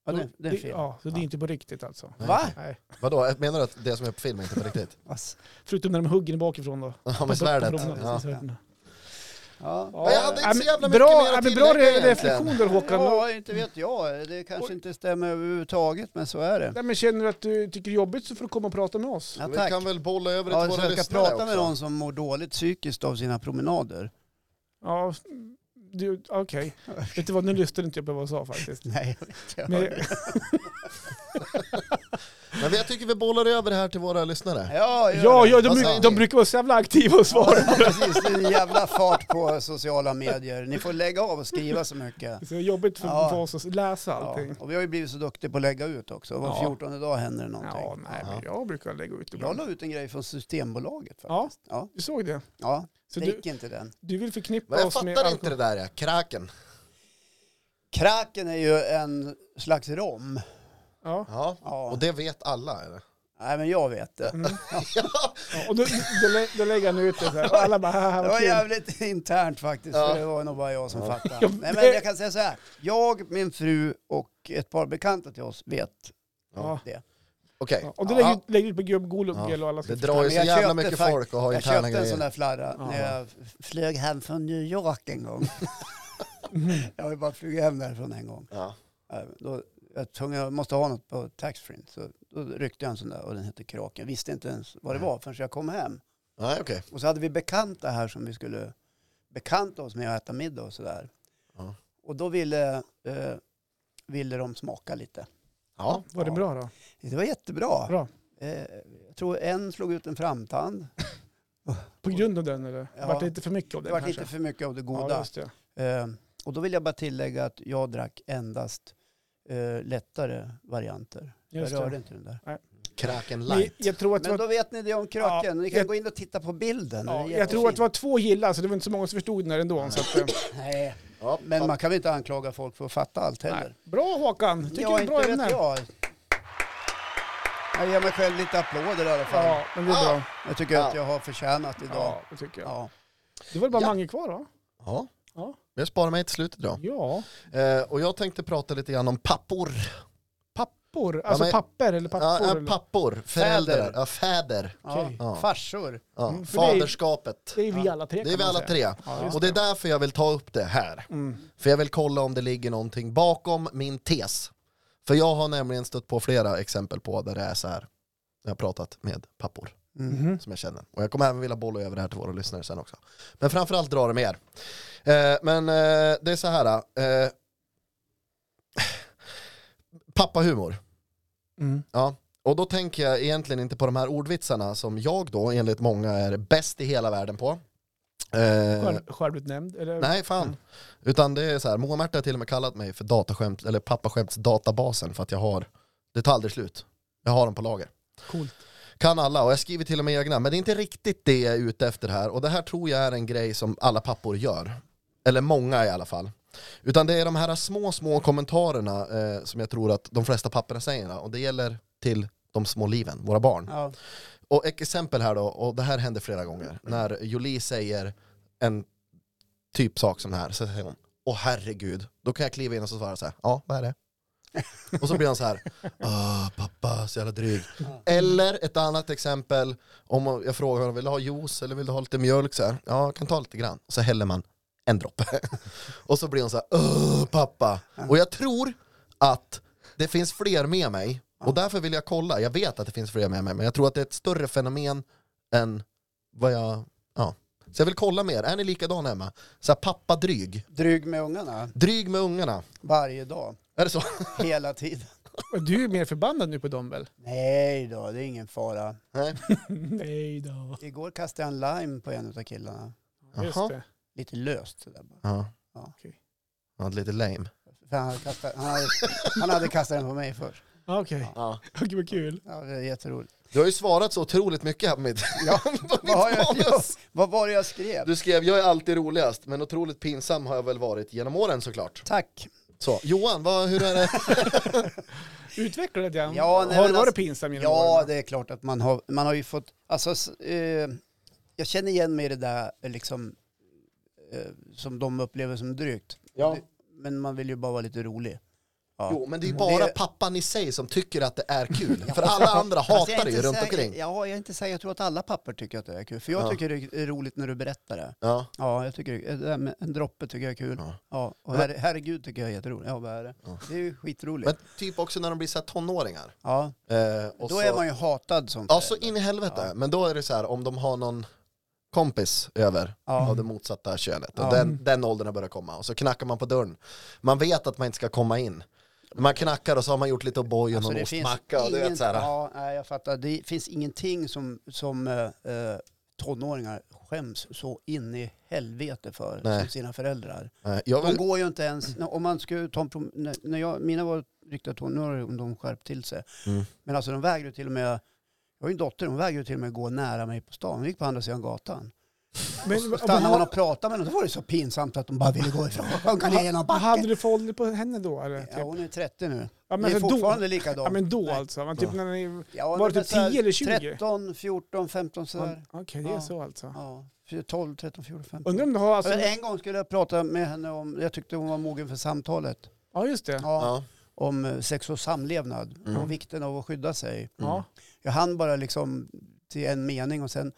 [SPEAKER 1] Ja, det, det är en film.
[SPEAKER 3] Ja, så det är
[SPEAKER 1] Ja.
[SPEAKER 3] inte på riktigt alltså.
[SPEAKER 4] Nej.
[SPEAKER 1] Va?
[SPEAKER 3] Nej.
[SPEAKER 4] Vadå, menar du att det som är på film är inte på riktigt?
[SPEAKER 1] Ass.
[SPEAKER 3] Förutom när de hugger bakifrån då.
[SPEAKER 4] [LAUGHS] Ja,
[SPEAKER 3] På-
[SPEAKER 4] med
[SPEAKER 3] på
[SPEAKER 4] svärdet.
[SPEAKER 3] promenaden,
[SPEAKER 4] Ja.
[SPEAKER 3] precis, svärdet.
[SPEAKER 1] Ja.
[SPEAKER 4] Ja, jag hade inte
[SPEAKER 3] Ja,
[SPEAKER 4] så
[SPEAKER 3] men
[SPEAKER 4] jävla mycket
[SPEAKER 3] bra,
[SPEAKER 4] mer att
[SPEAKER 3] ja, men Bra
[SPEAKER 4] tillägga egentligen.
[SPEAKER 3] reflektion där Håkan.
[SPEAKER 1] ja, inte vet jag. Det kanske inte stämmer överhuvudtaget, men så är det.
[SPEAKER 3] Nej, men känner du att du tycker det är jobbigt så får du komma och prata med oss.
[SPEAKER 1] Ja,
[SPEAKER 4] Vi
[SPEAKER 1] tack.
[SPEAKER 4] kan väl bolla över det
[SPEAKER 1] Ja,
[SPEAKER 4] till
[SPEAKER 1] så
[SPEAKER 4] våra
[SPEAKER 1] jag ska
[SPEAKER 4] lyssnare
[SPEAKER 1] prata med
[SPEAKER 4] också.
[SPEAKER 1] någon som mår dåligt psykiskt av sina promenader.
[SPEAKER 3] Ja, du, okej. Vet du vad, nu lyssnade inte jag på vad jag sa faktiskt.
[SPEAKER 1] Nej, jag vet inte.
[SPEAKER 3] Men,
[SPEAKER 4] Men jag tycker vi bollar över det här till våra lyssnare.
[SPEAKER 1] Ja, gör
[SPEAKER 3] ja,
[SPEAKER 1] det.
[SPEAKER 3] ja, de,
[SPEAKER 4] Vad
[SPEAKER 3] bruk-
[SPEAKER 4] säger
[SPEAKER 3] de
[SPEAKER 4] ni?
[SPEAKER 3] brukar vara så jävla aktiva och svara.
[SPEAKER 1] Ja, precis. Det är en jävla fart på sociala medier. Ni får lägga av och skriva så mycket.
[SPEAKER 3] Så det är jobbigt för,
[SPEAKER 1] Ja.
[SPEAKER 3] för oss att läsa
[SPEAKER 1] Ja.
[SPEAKER 3] allting.
[SPEAKER 1] Och vi har ju blivit så duktiga på att lägga ut också. Var
[SPEAKER 3] Ja.
[SPEAKER 1] 14 dag händer det
[SPEAKER 3] Ja,
[SPEAKER 1] någonting.
[SPEAKER 3] nej, men jag brukar lägga ut
[SPEAKER 1] Jag
[SPEAKER 3] ibland.
[SPEAKER 1] la ut en grej från Systembolaget. Faktiskt.
[SPEAKER 3] Ja,
[SPEAKER 1] Ja.
[SPEAKER 3] du såg det.
[SPEAKER 1] Ja,
[SPEAKER 3] Så
[SPEAKER 1] drick
[SPEAKER 3] du,
[SPEAKER 1] inte den.
[SPEAKER 3] du vill
[SPEAKER 4] Men
[SPEAKER 3] förknippa
[SPEAKER 4] jag
[SPEAKER 3] oss med
[SPEAKER 4] fattar inte
[SPEAKER 3] alkohol.
[SPEAKER 4] det där ja. kraken.
[SPEAKER 1] Kraken är ju en slags rom.
[SPEAKER 3] Ja.
[SPEAKER 4] Ja.
[SPEAKER 1] Ja.
[SPEAKER 4] Och det vet alla eller?
[SPEAKER 1] Nej, men jag vet det. [LAUGHS]
[SPEAKER 3] Mm. ja. Och då, då, lä- då lägger han ut det så här. Och alla bara, haha
[SPEAKER 1] Det
[SPEAKER 3] vad
[SPEAKER 1] var
[SPEAKER 3] kul.
[SPEAKER 1] jävligt [LAUGHS] internt faktiskt,
[SPEAKER 4] Ja.
[SPEAKER 1] för det var nog bara jag som fattade.
[SPEAKER 3] Ja,
[SPEAKER 1] Nej, men
[SPEAKER 3] det-
[SPEAKER 1] jag kan säga så här. Jag, min fru och ett par bekanta till oss vet
[SPEAKER 3] Ja.
[SPEAKER 1] det.
[SPEAKER 4] Okej.
[SPEAKER 3] Ja. Och då
[SPEAKER 1] Ja.
[SPEAKER 3] lägger, lägger ut på gubb, Golugel och alla
[SPEAKER 4] Det
[SPEAKER 3] ska
[SPEAKER 4] drar ju så
[SPEAKER 1] Men jag
[SPEAKER 4] jävla
[SPEAKER 1] köpte
[SPEAKER 4] mycket
[SPEAKER 1] fakt-
[SPEAKER 4] folk och har
[SPEAKER 1] Jag köpte
[SPEAKER 4] interna
[SPEAKER 1] en sån
[SPEAKER 4] grejer.
[SPEAKER 1] där flarra
[SPEAKER 3] Ja.
[SPEAKER 1] när jag f- flög hem från New York en
[SPEAKER 3] [LAUGHS]
[SPEAKER 1] gång. jag har ju bara flugit hem därifrån en gång.
[SPEAKER 4] Ja.
[SPEAKER 1] Eh, Då, jag, tvungen, jag måste ha något på taxfree. Så då ryckte jag en sån där och den hette Kraken. Visste inte ens vad det var förrän jag kom hem.
[SPEAKER 4] Nej okej.
[SPEAKER 1] Och så hade vi bekanta här som vi skulle bekanta oss med och äta middag och sådär.
[SPEAKER 4] Ja.
[SPEAKER 1] Och då ville, eh, ville de smaka lite.
[SPEAKER 4] Ja.
[SPEAKER 3] Var det
[SPEAKER 1] Ja.
[SPEAKER 3] bra då?
[SPEAKER 1] Det var jättebra.
[SPEAKER 3] Bra.
[SPEAKER 1] Eh, jag tror en slog ut en framtand.
[SPEAKER 3] På grund av den eller?
[SPEAKER 1] Ja.
[SPEAKER 3] Vart det lite för mycket av
[SPEAKER 1] Det
[SPEAKER 3] den
[SPEAKER 1] var
[SPEAKER 3] kanske?
[SPEAKER 1] lite för mycket av det
[SPEAKER 3] Ja,
[SPEAKER 1] goda.
[SPEAKER 3] just det.
[SPEAKER 1] eh, och då vill jag bara tillägga att jag drack endast eh, lättare varianter.
[SPEAKER 3] Just
[SPEAKER 1] jag rörde
[SPEAKER 3] det.
[SPEAKER 1] inte den där.
[SPEAKER 4] Kraken
[SPEAKER 3] Men
[SPEAKER 4] light.
[SPEAKER 3] Jag tror att det
[SPEAKER 1] Men
[SPEAKER 3] var,
[SPEAKER 1] då vet ni det om kraken.
[SPEAKER 3] Ja,
[SPEAKER 1] ni kan
[SPEAKER 3] jag-
[SPEAKER 1] gå in och titta på bilden. Den
[SPEAKER 3] ja,
[SPEAKER 1] är
[SPEAKER 3] jag tror att det
[SPEAKER 1] jättefin.
[SPEAKER 3] var två gillar, så det var inte så många som förstod den här ändå.
[SPEAKER 1] [LAUGHS]
[SPEAKER 3] Så att, eh,
[SPEAKER 1] Nej,
[SPEAKER 4] Ja,
[SPEAKER 1] men
[SPEAKER 4] fan.
[SPEAKER 1] man kan väl inte anklaga folk för att fatta allt heller.
[SPEAKER 3] nej. Bra Håkan, tycker det är bra
[SPEAKER 1] inte
[SPEAKER 3] ämne.
[SPEAKER 1] vet jag. Jag ger mig själv lite applåder i alla fall.
[SPEAKER 3] Ja, men det är bra.
[SPEAKER 1] Jag tycker
[SPEAKER 4] Ja.
[SPEAKER 1] att jag har förtjänat idag.
[SPEAKER 3] Ja, det tycker jag.
[SPEAKER 1] Ja.
[SPEAKER 3] Det var väl bara
[SPEAKER 4] Ja.
[SPEAKER 3] Mange kvar då?
[SPEAKER 4] Ja.
[SPEAKER 3] Ja.
[SPEAKER 4] Jag sparar mig till slutet då.
[SPEAKER 3] Ja.
[SPEAKER 4] Eh, och jag tänkte prata lite grann om pappor.
[SPEAKER 3] Pappor, alltså
[SPEAKER 4] men-
[SPEAKER 3] papper eller
[SPEAKER 4] Ja,
[SPEAKER 3] pappor?
[SPEAKER 4] ja,
[SPEAKER 3] eller?
[SPEAKER 4] pappor, föräldrar,
[SPEAKER 1] Fäder.
[SPEAKER 4] Ja, fäder.
[SPEAKER 1] Ja.
[SPEAKER 3] Okej.
[SPEAKER 4] Ja.
[SPEAKER 1] Farsor.
[SPEAKER 4] Ja.
[SPEAKER 3] Mm, för det är-
[SPEAKER 4] Faderskapet.
[SPEAKER 3] Det är vi alla tre.
[SPEAKER 4] Det är
[SPEAKER 3] kan
[SPEAKER 4] vi
[SPEAKER 3] man
[SPEAKER 4] alla
[SPEAKER 3] säga.
[SPEAKER 4] tre.
[SPEAKER 3] Ja, just
[SPEAKER 4] Och det är därför jag vill ta upp det här.
[SPEAKER 3] Mm.
[SPEAKER 4] För jag vill kolla om det ligger någonting bakom min tes. För jag har nämligen stött på flera exempel på där det är så här. Jag har pratat med pappor
[SPEAKER 3] Mhm.
[SPEAKER 4] som jag känner. Och jag kommer även vilja bolla över det här till våra lyssnare sen också. Men framförallt dra det med er. Eh, men eh, det är så här. Eh, [SIGHS] pappahumor.
[SPEAKER 3] Mm.
[SPEAKER 4] Ja, och då tänker jag egentligen inte på de här ordvitsarna som jag då enligt många är bäst i hela världen på. Eh,
[SPEAKER 3] Själv- Självutnämnd? Eller?
[SPEAKER 4] nej, fan.
[SPEAKER 3] Mm.
[SPEAKER 4] Utan det är så här, Moa-Märta har till och med kallat mig för dataskämt, eller pappaskämtsdatabasen för att jag har, det tar aldrig slut. Jag har dem på lager.
[SPEAKER 3] Coolt.
[SPEAKER 4] Kan alla och jag skriver till och med egna. Men det är inte riktigt det jag är ute efter här. Och det här tror jag är en grej som alla pappor gör. Eller många i alla fall. Utan det är de här små, små kommentarerna eh, som jag tror att de flesta papporna säger. Och det gäller till de små liven, våra barn.
[SPEAKER 1] Ja.
[SPEAKER 4] Och ett exempel här då, och det här händer flera gånger. När Jolie säger en typ sak som den här, så säger hon Åh herregud, då kan jag kliva in och så svara så här, ja vad är det? och så blir han så här, Åh, pappa så jävla dryg. Eller ett annat exempel, om jag frågar honom, vill du ha juice eller vill du ha lite mjölk? Så här, ja, jag kan ta lite grann. Så häller man en droppe. [LAUGHS] och så blir hon så här, Åh pappa. Och jag tror att det finns fler med mig Och därför vill jag kolla. Jag vet att det finns fler med mig, men jag tror att det är ett större fenomen än vad jag... Ja. Så jag vill kolla mer. Är ni likadan hemma? Så här, pappa dryg.
[SPEAKER 1] Dryg med ungarna
[SPEAKER 4] Dryg med ungarna.
[SPEAKER 1] varje dag,
[SPEAKER 4] Är det så?
[SPEAKER 1] hela tiden.
[SPEAKER 3] Och Du är mer förbannad nu på dem
[SPEAKER 1] [LAUGHS]
[SPEAKER 3] väl?
[SPEAKER 1] Nej då, det är ingen fara.
[SPEAKER 4] Nej.
[SPEAKER 3] Nej då.
[SPEAKER 1] Igår kastade jag en lime på en av killarna.
[SPEAKER 4] Jaha.
[SPEAKER 3] Just det.
[SPEAKER 1] Lite löst sådär bara.
[SPEAKER 4] Ja.
[SPEAKER 1] Ja.
[SPEAKER 3] Okej.
[SPEAKER 4] Ja, lite lame.
[SPEAKER 1] För han, hade kastat, han, hade, han hade kastat den på mig först.
[SPEAKER 3] Ah, Okej,
[SPEAKER 4] Ja.
[SPEAKER 3] [LAUGHS] Okej, vad kul.
[SPEAKER 1] Ja, det är jätteroligt.
[SPEAKER 4] Du har ju svarat så otroligt mycket här på mitt,
[SPEAKER 1] Ja,
[SPEAKER 4] [LAUGHS] på mitt
[SPEAKER 1] vad, har jag, jag,
[SPEAKER 4] manus.
[SPEAKER 1] vad var det jag skrev?
[SPEAKER 4] Du skrev, jag är alltid roligast, men otroligt pinsam har jag väl varit genom åren såklart.
[SPEAKER 1] Tack.
[SPEAKER 4] Så, Johan, vad, hur är det?
[SPEAKER 3] Utveckla det Jan.
[SPEAKER 1] Ja, nej,
[SPEAKER 3] har du
[SPEAKER 1] men
[SPEAKER 3] varit
[SPEAKER 1] alltså-
[SPEAKER 3] pinsam genom
[SPEAKER 1] Ja,
[SPEAKER 3] åren?
[SPEAKER 1] det är klart att man har, man har ju fått, alltså, s- eh, jag känner igen mig i det där eh, liksom, eh, som de upplever som drygt.
[SPEAKER 4] Ja.
[SPEAKER 1] Men man vill ju bara vara lite rolig. Ja.
[SPEAKER 4] Jo, men det är ju
[SPEAKER 1] Mm.
[SPEAKER 4] bara
[SPEAKER 1] Det-
[SPEAKER 4] pappan i sig som tycker att det är kul. För alla andra hatar
[SPEAKER 1] Alltså, jag
[SPEAKER 4] det
[SPEAKER 1] är
[SPEAKER 4] ju
[SPEAKER 1] inte
[SPEAKER 4] runt
[SPEAKER 1] säker-
[SPEAKER 4] omkring.
[SPEAKER 1] Ja, jag är inte säker. Jag tror att alla papper tycker att det är kul. För jag
[SPEAKER 4] Ja.
[SPEAKER 1] tycker det är roligt när du berättar det.
[SPEAKER 4] Ja.
[SPEAKER 1] Ja, jag tycker det där med en droppe tycker jag är kul.
[SPEAKER 4] Ja.
[SPEAKER 1] Ja, och her, herregud tycker jag är jätteroligt. Ja, vad är det?
[SPEAKER 4] Ja.
[SPEAKER 1] Det är ju skitroligt.
[SPEAKER 4] Men typ också när de blir så här tonåringar.
[SPEAKER 1] ja,
[SPEAKER 4] Eh, och
[SPEAKER 1] då
[SPEAKER 4] så,
[SPEAKER 1] är man ju hatad som
[SPEAKER 4] Ja, så
[SPEAKER 1] förälder.
[SPEAKER 4] in i helvete.
[SPEAKER 1] Ja.
[SPEAKER 4] Men då är det så här, om de har någon kompis över av
[SPEAKER 1] ja.
[SPEAKER 4] det motsatta könet.
[SPEAKER 1] Ja.
[SPEAKER 4] Och den, den åldern har börjat komma. Och så knackar man på dörren. Man vet att man inte ska komma in. Man knackar och så har man gjort lite O'boy och
[SPEAKER 1] Alltså,
[SPEAKER 4] någon
[SPEAKER 1] det finns
[SPEAKER 4] ostmacka. Och du vet
[SPEAKER 1] ingen-
[SPEAKER 4] så här,
[SPEAKER 1] Ja, nej, jag fattar. Det finns ingenting som, som eh, eh, tonåringar skäms så in i helvete för
[SPEAKER 4] Nej.
[SPEAKER 1] som sina föräldrar.
[SPEAKER 4] eh, jag
[SPEAKER 1] De
[SPEAKER 4] vill,
[SPEAKER 1] går ju inte ens, när- om man skulle ta en prom- när- när jag, mina var riktiga tonåringar om de skärpt till sig.
[SPEAKER 4] Mm.
[SPEAKER 1] Men alltså de vägrade till och med, jag har ju en dotter, hon vägrade till och med gå nära mig på stan. Hon gick på andra sidan gatan.
[SPEAKER 3] Men,
[SPEAKER 1] Och stannade man och pratade med dem, då var det så pinsamt att de bara ville gå ifrån. De kan ner genom
[SPEAKER 3] vad hade
[SPEAKER 1] backen.
[SPEAKER 3] du för ålder på henne då? Eller? Typ?
[SPEAKER 1] Ja, hon är 30 nu.
[SPEAKER 3] Ja,
[SPEAKER 1] det är
[SPEAKER 3] för
[SPEAKER 1] fortfarande
[SPEAKER 3] då,
[SPEAKER 1] likadant.
[SPEAKER 3] ja, men då
[SPEAKER 1] Nej.
[SPEAKER 3] alltså. Men typ
[SPEAKER 4] Ja.
[SPEAKER 3] när ni,
[SPEAKER 1] Ja,
[SPEAKER 3] Var det
[SPEAKER 1] men
[SPEAKER 3] typ
[SPEAKER 1] så här
[SPEAKER 3] 10 eller 20?
[SPEAKER 1] 13, 14, 15 sådär.
[SPEAKER 3] Okej, det är
[SPEAKER 1] Ja.
[SPEAKER 3] så alltså.
[SPEAKER 1] Ja. 12, 13, 14, 15.
[SPEAKER 3] Undrar om du har alltså...
[SPEAKER 1] en gång skulle jag prata med henne om, jag tyckte hon var mogen för samtalet,
[SPEAKER 3] Ja, just det.
[SPEAKER 1] ja,
[SPEAKER 4] ja.
[SPEAKER 1] om eh, sex och samlevnad
[SPEAKER 4] Mm.
[SPEAKER 1] och vikten av att skydda sig.
[SPEAKER 3] Ja. [LAUGHS]
[SPEAKER 1] Jag hann bara liksom till en mening och sen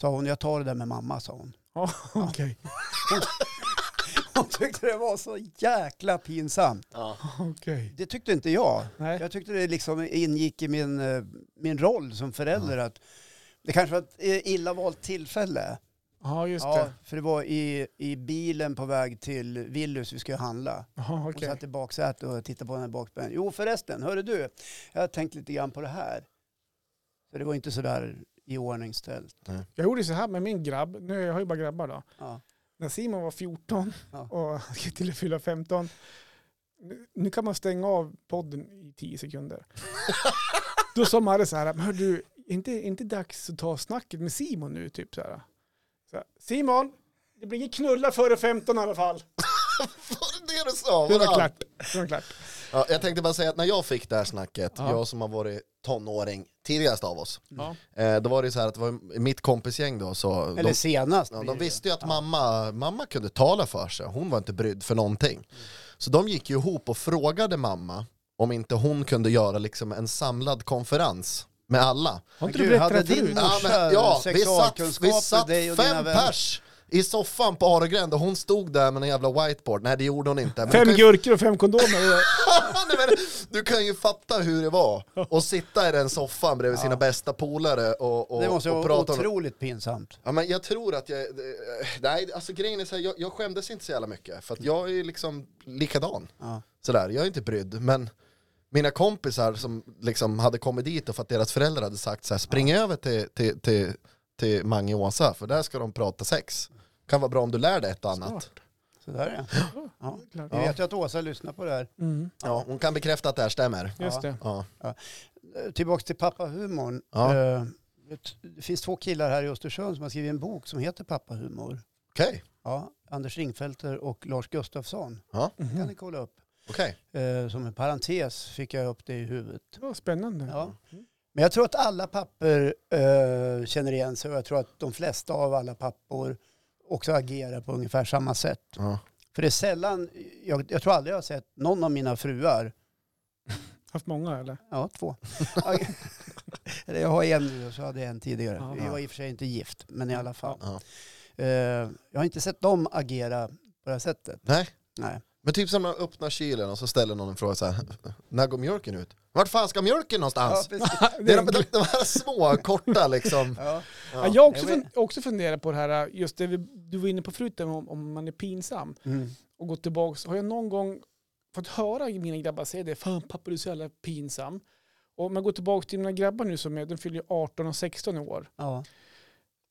[SPEAKER 1] sa hon, jag tar det där med mamma, sa hon. [LAUGHS]
[SPEAKER 3] Ja, okej.
[SPEAKER 1] Hon tyckte det var så jäkla pinsamt.
[SPEAKER 4] Ja.
[SPEAKER 3] Okej.
[SPEAKER 1] Det tyckte inte jag.
[SPEAKER 3] Nej.
[SPEAKER 1] Jag tyckte det liksom ingick i min, eh, min roll som förälder att det kanske var ett eh, illa valt tillfälle.
[SPEAKER 3] Ja, just
[SPEAKER 1] Ja,
[SPEAKER 3] det.
[SPEAKER 1] för det var i, i bilen på väg till Willys vi skulle handla.
[SPEAKER 3] Ja,
[SPEAKER 1] Hon
[SPEAKER 3] okej.
[SPEAKER 1] satt i baksätet och tittade på den här bakbänken. Jo förresten, hörru du, jag har tänkt lite grann på det här. Så det var inte sådär i ordningställt.
[SPEAKER 3] Jag gjorde så här med min grabb. Nu, jag har ju bara grabbar då.
[SPEAKER 1] Ja.
[SPEAKER 3] När Simon var 14
[SPEAKER 1] Ja.
[SPEAKER 3] och ska till att fylla 15. Nu, nu kan man stänga av podden i
[SPEAKER 1] [LAUGHS]
[SPEAKER 3] 10 sekunder. Då sa Marre så här, men hör du, är inte, är inte dags att ta snacket med Simon nu? Typ så här. Så här, Simon, det blir ingen knulla före 15 i alla fall.
[SPEAKER 4] Var det det du sa?
[SPEAKER 3] Det
[SPEAKER 4] Var
[SPEAKER 3] var
[SPEAKER 4] allt?
[SPEAKER 3] klart. Det var klart.
[SPEAKER 4] Ja, jag tänkte bara säga att när jag fick det här snacket,
[SPEAKER 3] Ja.
[SPEAKER 4] jag som har varit tonåring tidigast av oss,
[SPEAKER 3] Ja.
[SPEAKER 4] eh, då var det ju så här att det var i mitt kompisgäng då, så
[SPEAKER 1] Eller
[SPEAKER 4] de,
[SPEAKER 1] senast.
[SPEAKER 4] ja,
[SPEAKER 1] blir
[SPEAKER 4] de
[SPEAKER 1] det.
[SPEAKER 4] visste ju att mamma, mamma kunde tala för sig, hon var inte brydd för någonting. Så de gick ju ihop och frågade mamma om inte hon kunde göra liksom en samlad konferens med alla.
[SPEAKER 3] Har inte
[SPEAKER 1] Men
[SPEAKER 3] du
[SPEAKER 1] gud,
[SPEAKER 3] berättat det här
[SPEAKER 1] hade din
[SPEAKER 3] förut?
[SPEAKER 1] mor- Morsa,
[SPEAKER 4] Ja, men, ja, vi satt,
[SPEAKER 1] sexualkunskap
[SPEAKER 4] vi
[SPEAKER 1] för
[SPEAKER 4] satt
[SPEAKER 1] dig och dina
[SPEAKER 4] fem
[SPEAKER 1] vänner.
[SPEAKER 4] pers i soffan på Aregränd och hon stod där med en jävla whiteboard. Nej det gjorde hon inte. Men du
[SPEAKER 3] Fem
[SPEAKER 4] kan ju
[SPEAKER 3] gurkor och fem kondomer.
[SPEAKER 4] [LAUGHS] Nej, men du kan ju fatta hur det var att sitta i den soffan bredvid sina bästa polare och, och,
[SPEAKER 1] Det måste
[SPEAKER 4] och
[SPEAKER 1] vara
[SPEAKER 4] prata om...
[SPEAKER 1] otroligt pinsamt.
[SPEAKER 4] Ja, men jag tror att jag... eh, Nej, alltså grejen är så här, jag, jag skämdes inte så jävla mycket för att jag är liksom likadan.
[SPEAKER 1] Ja.
[SPEAKER 4] Sådär, jag är inte brydd. Men mina kompisar som liksom hade kommit dit och för att deras föräldrar hade sagt så här, spring över till, till, till, till Mange och Åsa för där ska de prata sex. Kan vara bra om du lär dig ett och annat.
[SPEAKER 1] Så där är det. Ja.
[SPEAKER 3] Klart.
[SPEAKER 1] Vi vet ju att Åsa lyssnar på det här.
[SPEAKER 3] Mm,
[SPEAKER 4] Ja, hon kan bekräfta att det här stämmer.
[SPEAKER 3] just det.
[SPEAKER 4] Ja.
[SPEAKER 1] Eh, Tillbaka till pappahumorn.
[SPEAKER 4] Ja.
[SPEAKER 1] Eh, det- Det finns två killar här i Östersund som har skrivit en bok som heter Pappahumor.
[SPEAKER 4] Okej,
[SPEAKER 1] Ja, Anders Ringfelter och Lars Gustafsson. Det kan
[SPEAKER 3] Mhm.
[SPEAKER 1] ni kolla upp.
[SPEAKER 4] okej.
[SPEAKER 1] Eh, som en parentes fick jag upp det i huvudet.
[SPEAKER 3] Det var spännande.
[SPEAKER 1] Ja. Men jag tror att alla papper eh, känner igen sig och jag tror att de flesta av alla pappor också agerar på ungefär samma sätt.
[SPEAKER 4] Ja.
[SPEAKER 1] För det är sällan, jag, jag tror aldrig jag har sett någon av mina fruar,
[SPEAKER 3] Haft många eller?
[SPEAKER 1] ja [LAUGHS] två, eller jag har en nu och så hade jag en tidigare.
[SPEAKER 3] Ja.
[SPEAKER 1] Jag är i och för sig inte gift, men i alla fall.
[SPEAKER 4] Ja.
[SPEAKER 1] Eh, jag har inte sett dem agera på det här sättet.
[SPEAKER 4] Nej.
[SPEAKER 1] Nej.
[SPEAKER 4] Men typ som när man öppnar kylen och så ställer någon en fråga så här, när går mjölken ut? Vart fan ska mjölken någonstans? [LAUGHS]
[SPEAKER 1] precis.
[SPEAKER 4] det är de, de, de här små, korta liksom.
[SPEAKER 1] [LAUGHS] Ja.
[SPEAKER 3] Ja, jag har också,
[SPEAKER 1] Jag vet.
[SPEAKER 3] fun- också funderat på det här, just det vi- du var inne på förut, där om, om man är pinsam
[SPEAKER 1] Mm.
[SPEAKER 3] och gått tillbaka. Har jag någon gång fått höra mina grabbar säga det, fan pappa du är så jävla pinsam. Och om jag går tillbaka till mina grabbar nu som är, de fyller ju 18 och 16 i år.
[SPEAKER 1] Ja.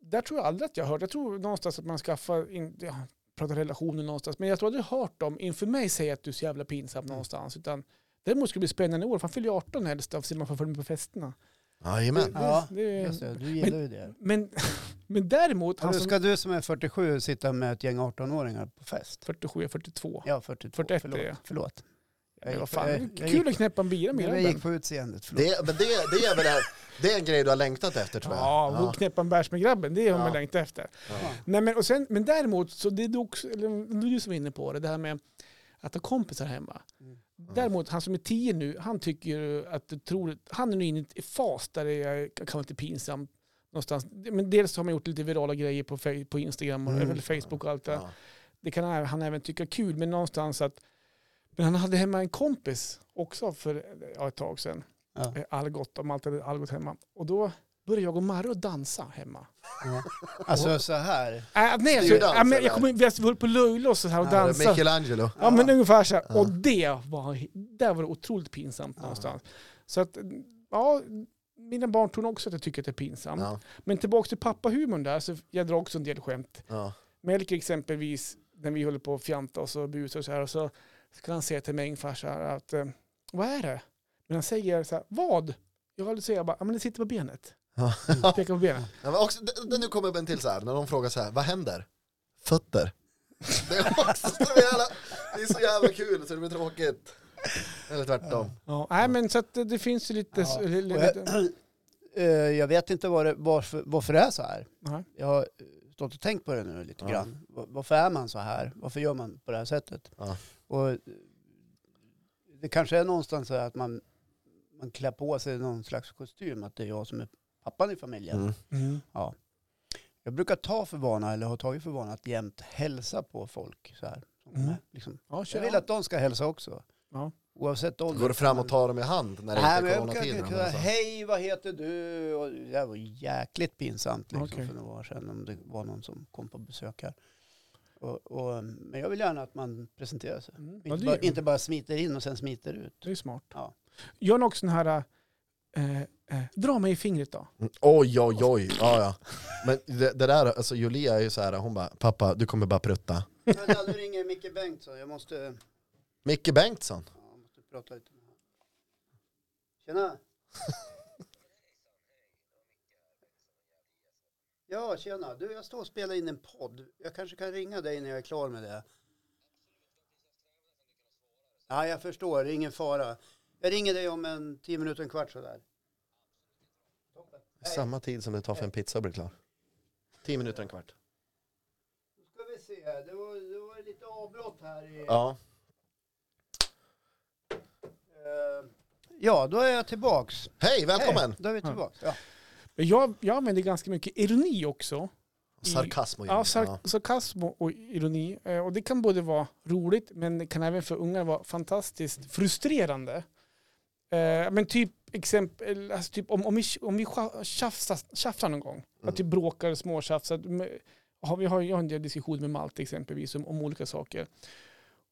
[SPEAKER 3] Där tror jag aldrig att jag hört, jag tror någonstans att man skaffar, in, ja, pratar relationer någonstans, men jag tror aldrig jag hört dem inför mig säga att du är så jävla
[SPEAKER 1] Mm.
[SPEAKER 3] pinsam någonstans. Utan, däremot skulle det bli spännande i år, för han fyller ju 18 helst, av sig man får följa med på festerna.
[SPEAKER 4] Jajamän.
[SPEAKER 1] Ja,
[SPEAKER 3] Det- det-
[SPEAKER 1] Just det, du gillar ju det.
[SPEAKER 3] Men, [LAUGHS] men däremot, han
[SPEAKER 1] Alltså,
[SPEAKER 3] som
[SPEAKER 1] ska du som är 47 sitta med ett gäng 18-åringar på fest?
[SPEAKER 3] 47 42.
[SPEAKER 1] Ja, 42.
[SPEAKER 3] 41
[SPEAKER 1] förlåt.
[SPEAKER 3] är jag.
[SPEAKER 1] förlåt. Jag
[SPEAKER 3] Men
[SPEAKER 1] gick
[SPEAKER 3] vad
[SPEAKER 1] på-
[SPEAKER 3] fan,
[SPEAKER 1] jag- jag gick
[SPEAKER 3] kul att knäppa en bira med
[SPEAKER 1] Jag gick
[SPEAKER 3] grabben.
[SPEAKER 1] på utseendet, förlåt.
[SPEAKER 4] Det, men det, det, är väl en, det är en grej du har längtat efter tror jag.
[SPEAKER 3] Ja, och knäppa en bärs med grabben, det har man
[SPEAKER 4] Ja.
[SPEAKER 3] längtat efter.
[SPEAKER 4] Ja.
[SPEAKER 3] Nej, men, och sen, men däremot, så det är du också, eller du som är inne på det, det här med att ha kompisar hemma.
[SPEAKER 1] Mm.
[SPEAKER 3] Däremot, han som är 10 nu, han tycker att du tror, han är nu inne i en fas där det är, kan vara lite pinsamt någonstans. Men dels har man gjort lite virala grejer på, Fe- på Instagram och
[SPEAKER 1] Mm.
[SPEAKER 3] eller Facebook och allt det där.
[SPEAKER 4] Ja.
[SPEAKER 3] det kan han- han även tycka är kul, men någonstans att... Men han hade hemma en kompis också för ja, ett tag sedan.
[SPEAKER 1] Ja.
[SPEAKER 3] Eh, Algot, de alltid hade Algot hemma. Och då började jag och Marre dansa hemma.
[SPEAKER 1] Alltså så här.
[SPEAKER 3] Äh, nej, alltså,
[SPEAKER 4] Styrdans,
[SPEAKER 3] äh, men
[SPEAKER 4] eller?
[SPEAKER 3] jag kommer vi höll på Löjlos och, så här och dansade. Ja,
[SPEAKER 4] Michelangelo.
[SPEAKER 3] men ungefär så här.
[SPEAKER 4] Ja.
[SPEAKER 3] Och det var, där var det otroligt pinsamt någonstans. Så att, ja, mina barn tror nog också att jag tycker att det är pinsamt.
[SPEAKER 4] Ja.
[SPEAKER 3] Men tillbaka till pappahumorn där, så jag drar också en del skämt.
[SPEAKER 4] Ja.
[SPEAKER 3] Melker exempelvis, när vi håller på att fjanta och så busar och så här, och så kan han säga till mig ungefär så här att, eh, vad är det? Men han säger så här, vad? Jag håller säga bara, ja men det sitter på benet.
[SPEAKER 4] Ja.
[SPEAKER 3] Pekar på benet.
[SPEAKER 4] Ja, men också, det, det, nu kommer en till så här, när de frågar så här, vad händer? Fötter. Det är, också så jävla, det är så jävla kul så det blir tråkigt. Eller tvärtom.
[SPEAKER 3] Ja, nej men så att det, det finns ju lite...
[SPEAKER 1] Ja.
[SPEAKER 3] Ja.
[SPEAKER 1] Och Jag, [CLEARS THROAT] eh, jag vet inte var det, varför, varför det är så här.
[SPEAKER 3] Nej.
[SPEAKER 1] Jag har eh, stått och tänkt på det nu lite
[SPEAKER 4] Ja.
[SPEAKER 1] grann. Va- Varför är man så här? Varför gör man på det här sättet?
[SPEAKER 4] Ja.
[SPEAKER 1] Och eh, det kanske är någonstans så här att man, man klär på sig någon slags kostym, att det är jag som är pappan i familjen.
[SPEAKER 4] Mm.
[SPEAKER 3] Mm.
[SPEAKER 1] Jag brukar ta för vana, eller har tagit för vana, att jämt hälsa på folk så här. som
[SPEAKER 3] Mm.
[SPEAKER 1] kommer, Liksom.
[SPEAKER 3] Ja,
[SPEAKER 1] Jag
[SPEAKER 3] kör.
[SPEAKER 1] vill att de ska hälsa också.
[SPEAKER 3] Ja.
[SPEAKER 1] Oavsett ålder.
[SPEAKER 4] Går du fram och tar dem i hand när det
[SPEAKER 1] Nej, men
[SPEAKER 4] inte är
[SPEAKER 1] jag kan
[SPEAKER 4] coronatider?
[SPEAKER 1] inte
[SPEAKER 4] men
[SPEAKER 1] säga
[SPEAKER 4] alltså.
[SPEAKER 1] hej, vad heter du? Och det var jäkligt pinsamt liksom,
[SPEAKER 3] Okej.
[SPEAKER 1] för några år sedan om det var någon som kom på besök här. Och, och, men jag vill gärna att man presenterar sig.
[SPEAKER 3] Mm. Ja,
[SPEAKER 1] Inte
[SPEAKER 3] det,
[SPEAKER 1] bara,
[SPEAKER 3] är ju-
[SPEAKER 1] inte bara smiter in och sen smiter ut.
[SPEAKER 3] [LAUGHS] det är ju smart.
[SPEAKER 1] Ja.
[SPEAKER 3] Gör nog också den här, eh, eh, dra mig i fingret då.
[SPEAKER 4] Mm, Oj, oj, oj. Ja, ja. Men det, det där, alltså Julia är ju så här, hon bara, pappa du kommer bara prutta.
[SPEAKER 1] Vänta, nu ringer Micke Bengtsson. Jag måste,
[SPEAKER 4] Micke Bengtsson.
[SPEAKER 1] jag måste prata lite med honom. Tjena! Ja, tjena. Du, jag står och spelar in en podd. Jag kanske kan ringa dig när jag är klar med det. Ja, jag förstår. Det är ingen fara. Jag ringer dig om en tio minuter, en kvart sådär. Toppen. Hej.
[SPEAKER 4] Samma tid som det tar för en pizza att bli klar. Tio minuter, en kvart.
[SPEAKER 1] Då ska vi se. Det var, det var lite avbrott här. I,
[SPEAKER 4] Ja.
[SPEAKER 1] eh, ja, då är jag tillbaks.
[SPEAKER 4] Hej, välkommen!
[SPEAKER 1] Hej, då är vi
[SPEAKER 3] Ja.
[SPEAKER 1] tillbaks. Ja.
[SPEAKER 3] Men Jag, jag använder ganska mycket ironi också.
[SPEAKER 4] Sarkasm och
[SPEAKER 3] Ja,
[SPEAKER 4] ljud.
[SPEAKER 3] sar- sarkasm och ironi. Eh, Och det kan både vara roligt, men det kan även för unga vara fantastiskt frustrerande. Eh, Men typ exempel, alltså typ om, om vi, om vi scha- tjafsar, tjafsar någon gång,
[SPEAKER 4] Mm.
[SPEAKER 3] att vi bråkar och småtjafsar. m- Har, vi har, jag har en del diskussioner med Malte exempelvis om, om olika saker.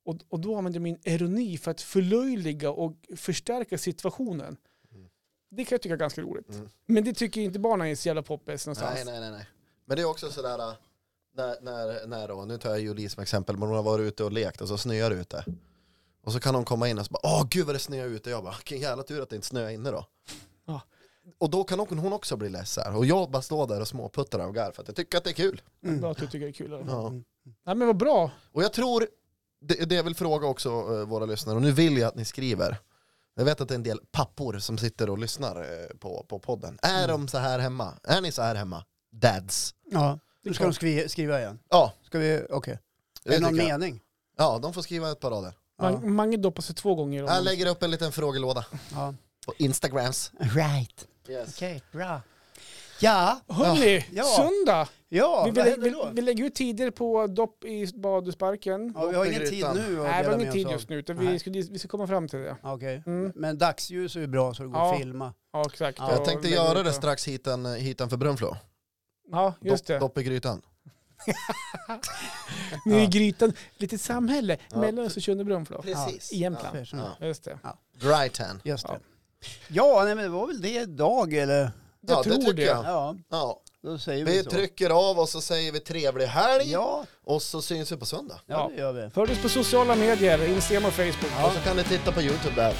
[SPEAKER 3] Och, och då använder jag min ironi för att förlöjliga och förstärka situationen.
[SPEAKER 4] Mm.
[SPEAKER 3] Det kan jag tycka är ganska roligt.
[SPEAKER 4] Mm.
[SPEAKER 3] Men det tycker inte barnen är så jävla poppis någonstans.
[SPEAKER 4] Nej, nej, nej, nej. Men det är också sådär, äh, när, när, när då, nu tar jag Julie som exempel, men hon har varit ute och lekt och så snöar det ute. Och så kan hon komma in och så bara, åh gud vad det snöar ute. Jag bara, vilken jävla tur att det inte snöar inne då.
[SPEAKER 3] Ja.
[SPEAKER 4] Och då kan hon, hon också bli less här. Och jag bara står där och småputtar och garvar för att jag tycker att det är kul.
[SPEAKER 3] Bra att du tycker det är kul. i alla fall.
[SPEAKER 4] Ja.
[SPEAKER 3] Nej men vad bra.
[SPEAKER 4] Och jag tror, det, det jag vill fråga också eh, våra lyssnare, och nu vill jag att ni skriver. Jag vet att det är en del pappor som sitter och lyssnar eh, på, på podden.
[SPEAKER 1] Mm.
[SPEAKER 4] Är de så här hemma? Är ni så här hemma? Dads.
[SPEAKER 1] Ja, nu ska de
[SPEAKER 3] klart.
[SPEAKER 1] skri- skriva igen.
[SPEAKER 4] Ja,
[SPEAKER 1] Ska vi, okej. Är
[SPEAKER 4] det
[SPEAKER 1] det någon
[SPEAKER 4] tycker jag.
[SPEAKER 1] mening?
[SPEAKER 4] Ja, de får skriva ett par rader.
[SPEAKER 3] Man,
[SPEAKER 1] Ja.
[SPEAKER 3] Mange doppar sig två gånger. om-
[SPEAKER 4] Jag lägger upp en liten frågelåda
[SPEAKER 1] ja.
[SPEAKER 4] på Instagrams.
[SPEAKER 1] Right,
[SPEAKER 4] Yes.
[SPEAKER 1] okej, bra. Ja,
[SPEAKER 3] Hörni,
[SPEAKER 1] Ja.
[SPEAKER 3] söndag!
[SPEAKER 1] Ja,
[SPEAKER 3] vi,
[SPEAKER 1] vad
[SPEAKER 3] vi,
[SPEAKER 1] händer
[SPEAKER 3] vi,
[SPEAKER 1] då?
[SPEAKER 3] vi lägger ju tider på dopp i badhusparken.
[SPEAKER 1] Ja, vi har ingen tid
[SPEAKER 4] Grytan.
[SPEAKER 1] nu att
[SPEAKER 3] Nej, vi
[SPEAKER 1] dela
[SPEAKER 3] har
[SPEAKER 1] med
[SPEAKER 3] ingen
[SPEAKER 1] oss
[SPEAKER 3] tid
[SPEAKER 1] av.
[SPEAKER 3] just nu, utan
[SPEAKER 1] Nej.
[SPEAKER 3] vi ska, vi ska komma fram till det.
[SPEAKER 1] Okej.
[SPEAKER 3] Mm.
[SPEAKER 1] Men dagsljus är ju bra så det går
[SPEAKER 3] Ja.
[SPEAKER 1] att filma.
[SPEAKER 3] Ja, exakt.
[SPEAKER 1] Ja,
[SPEAKER 3] Och
[SPEAKER 4] Jag tänkte
[SPEAKER 3] lägga
[SPEAKER 4] göra
[SPEAKER 3] ut
[SPEAKER 4] det strax hitan, hitan för Brunflo.
[SPEAKER 3] Ja, just det.
[SPEAKER 4] Dopp, dopp i grytan.
[SPEAKER 3] Nu är
[SPEAKER 4] Ja.
[SPEAKER 3] grytan lite samhälle
[SPEAKER 4] Ja.
[SPEAKER 3] mellan Östersund och Brunflo. I Jämtland.
[SPEAKER 1] Ungefär så.
[SPEAKER 4] Ja.
[SPEAKER 3] Just det.
[SPEAKER 4] Dry tan.
[SPEAKER 1] Just
[SPEAKER 3] Ja.
[SPEAKER 1] det. Ja, nej, men det var väl det idag eller?
[SPEAKER 3] Jag
[SPEAKER 4] Ja, det
[SPEAKER 3] tror det.
[SPEAKER 4] tycker jag.
[SPEAKER 1] Ja,
[SPEAKER 4] Ja.
[SPEAKER 1] då säger vi,
[SPEAKER 4] Vi
[SPEAKER 1] så.
[SPEAKER 4] trycker av och så säger vi trevlig helg
[SPEAKER 1] Ja,
[SPEAKER 4] och så syns vi på söndag.
[SPEAKER 1] ja, det gör vi.
[SPEAKER 3] Följ oss på sociala medier, Instagram och Facebook.
[SPEAKER 4] Och så kan ni titta på Youtube där.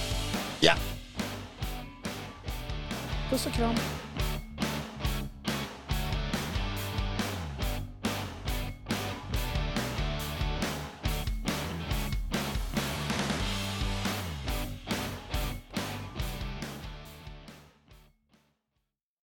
[SPEAKER 3] Puss och kram.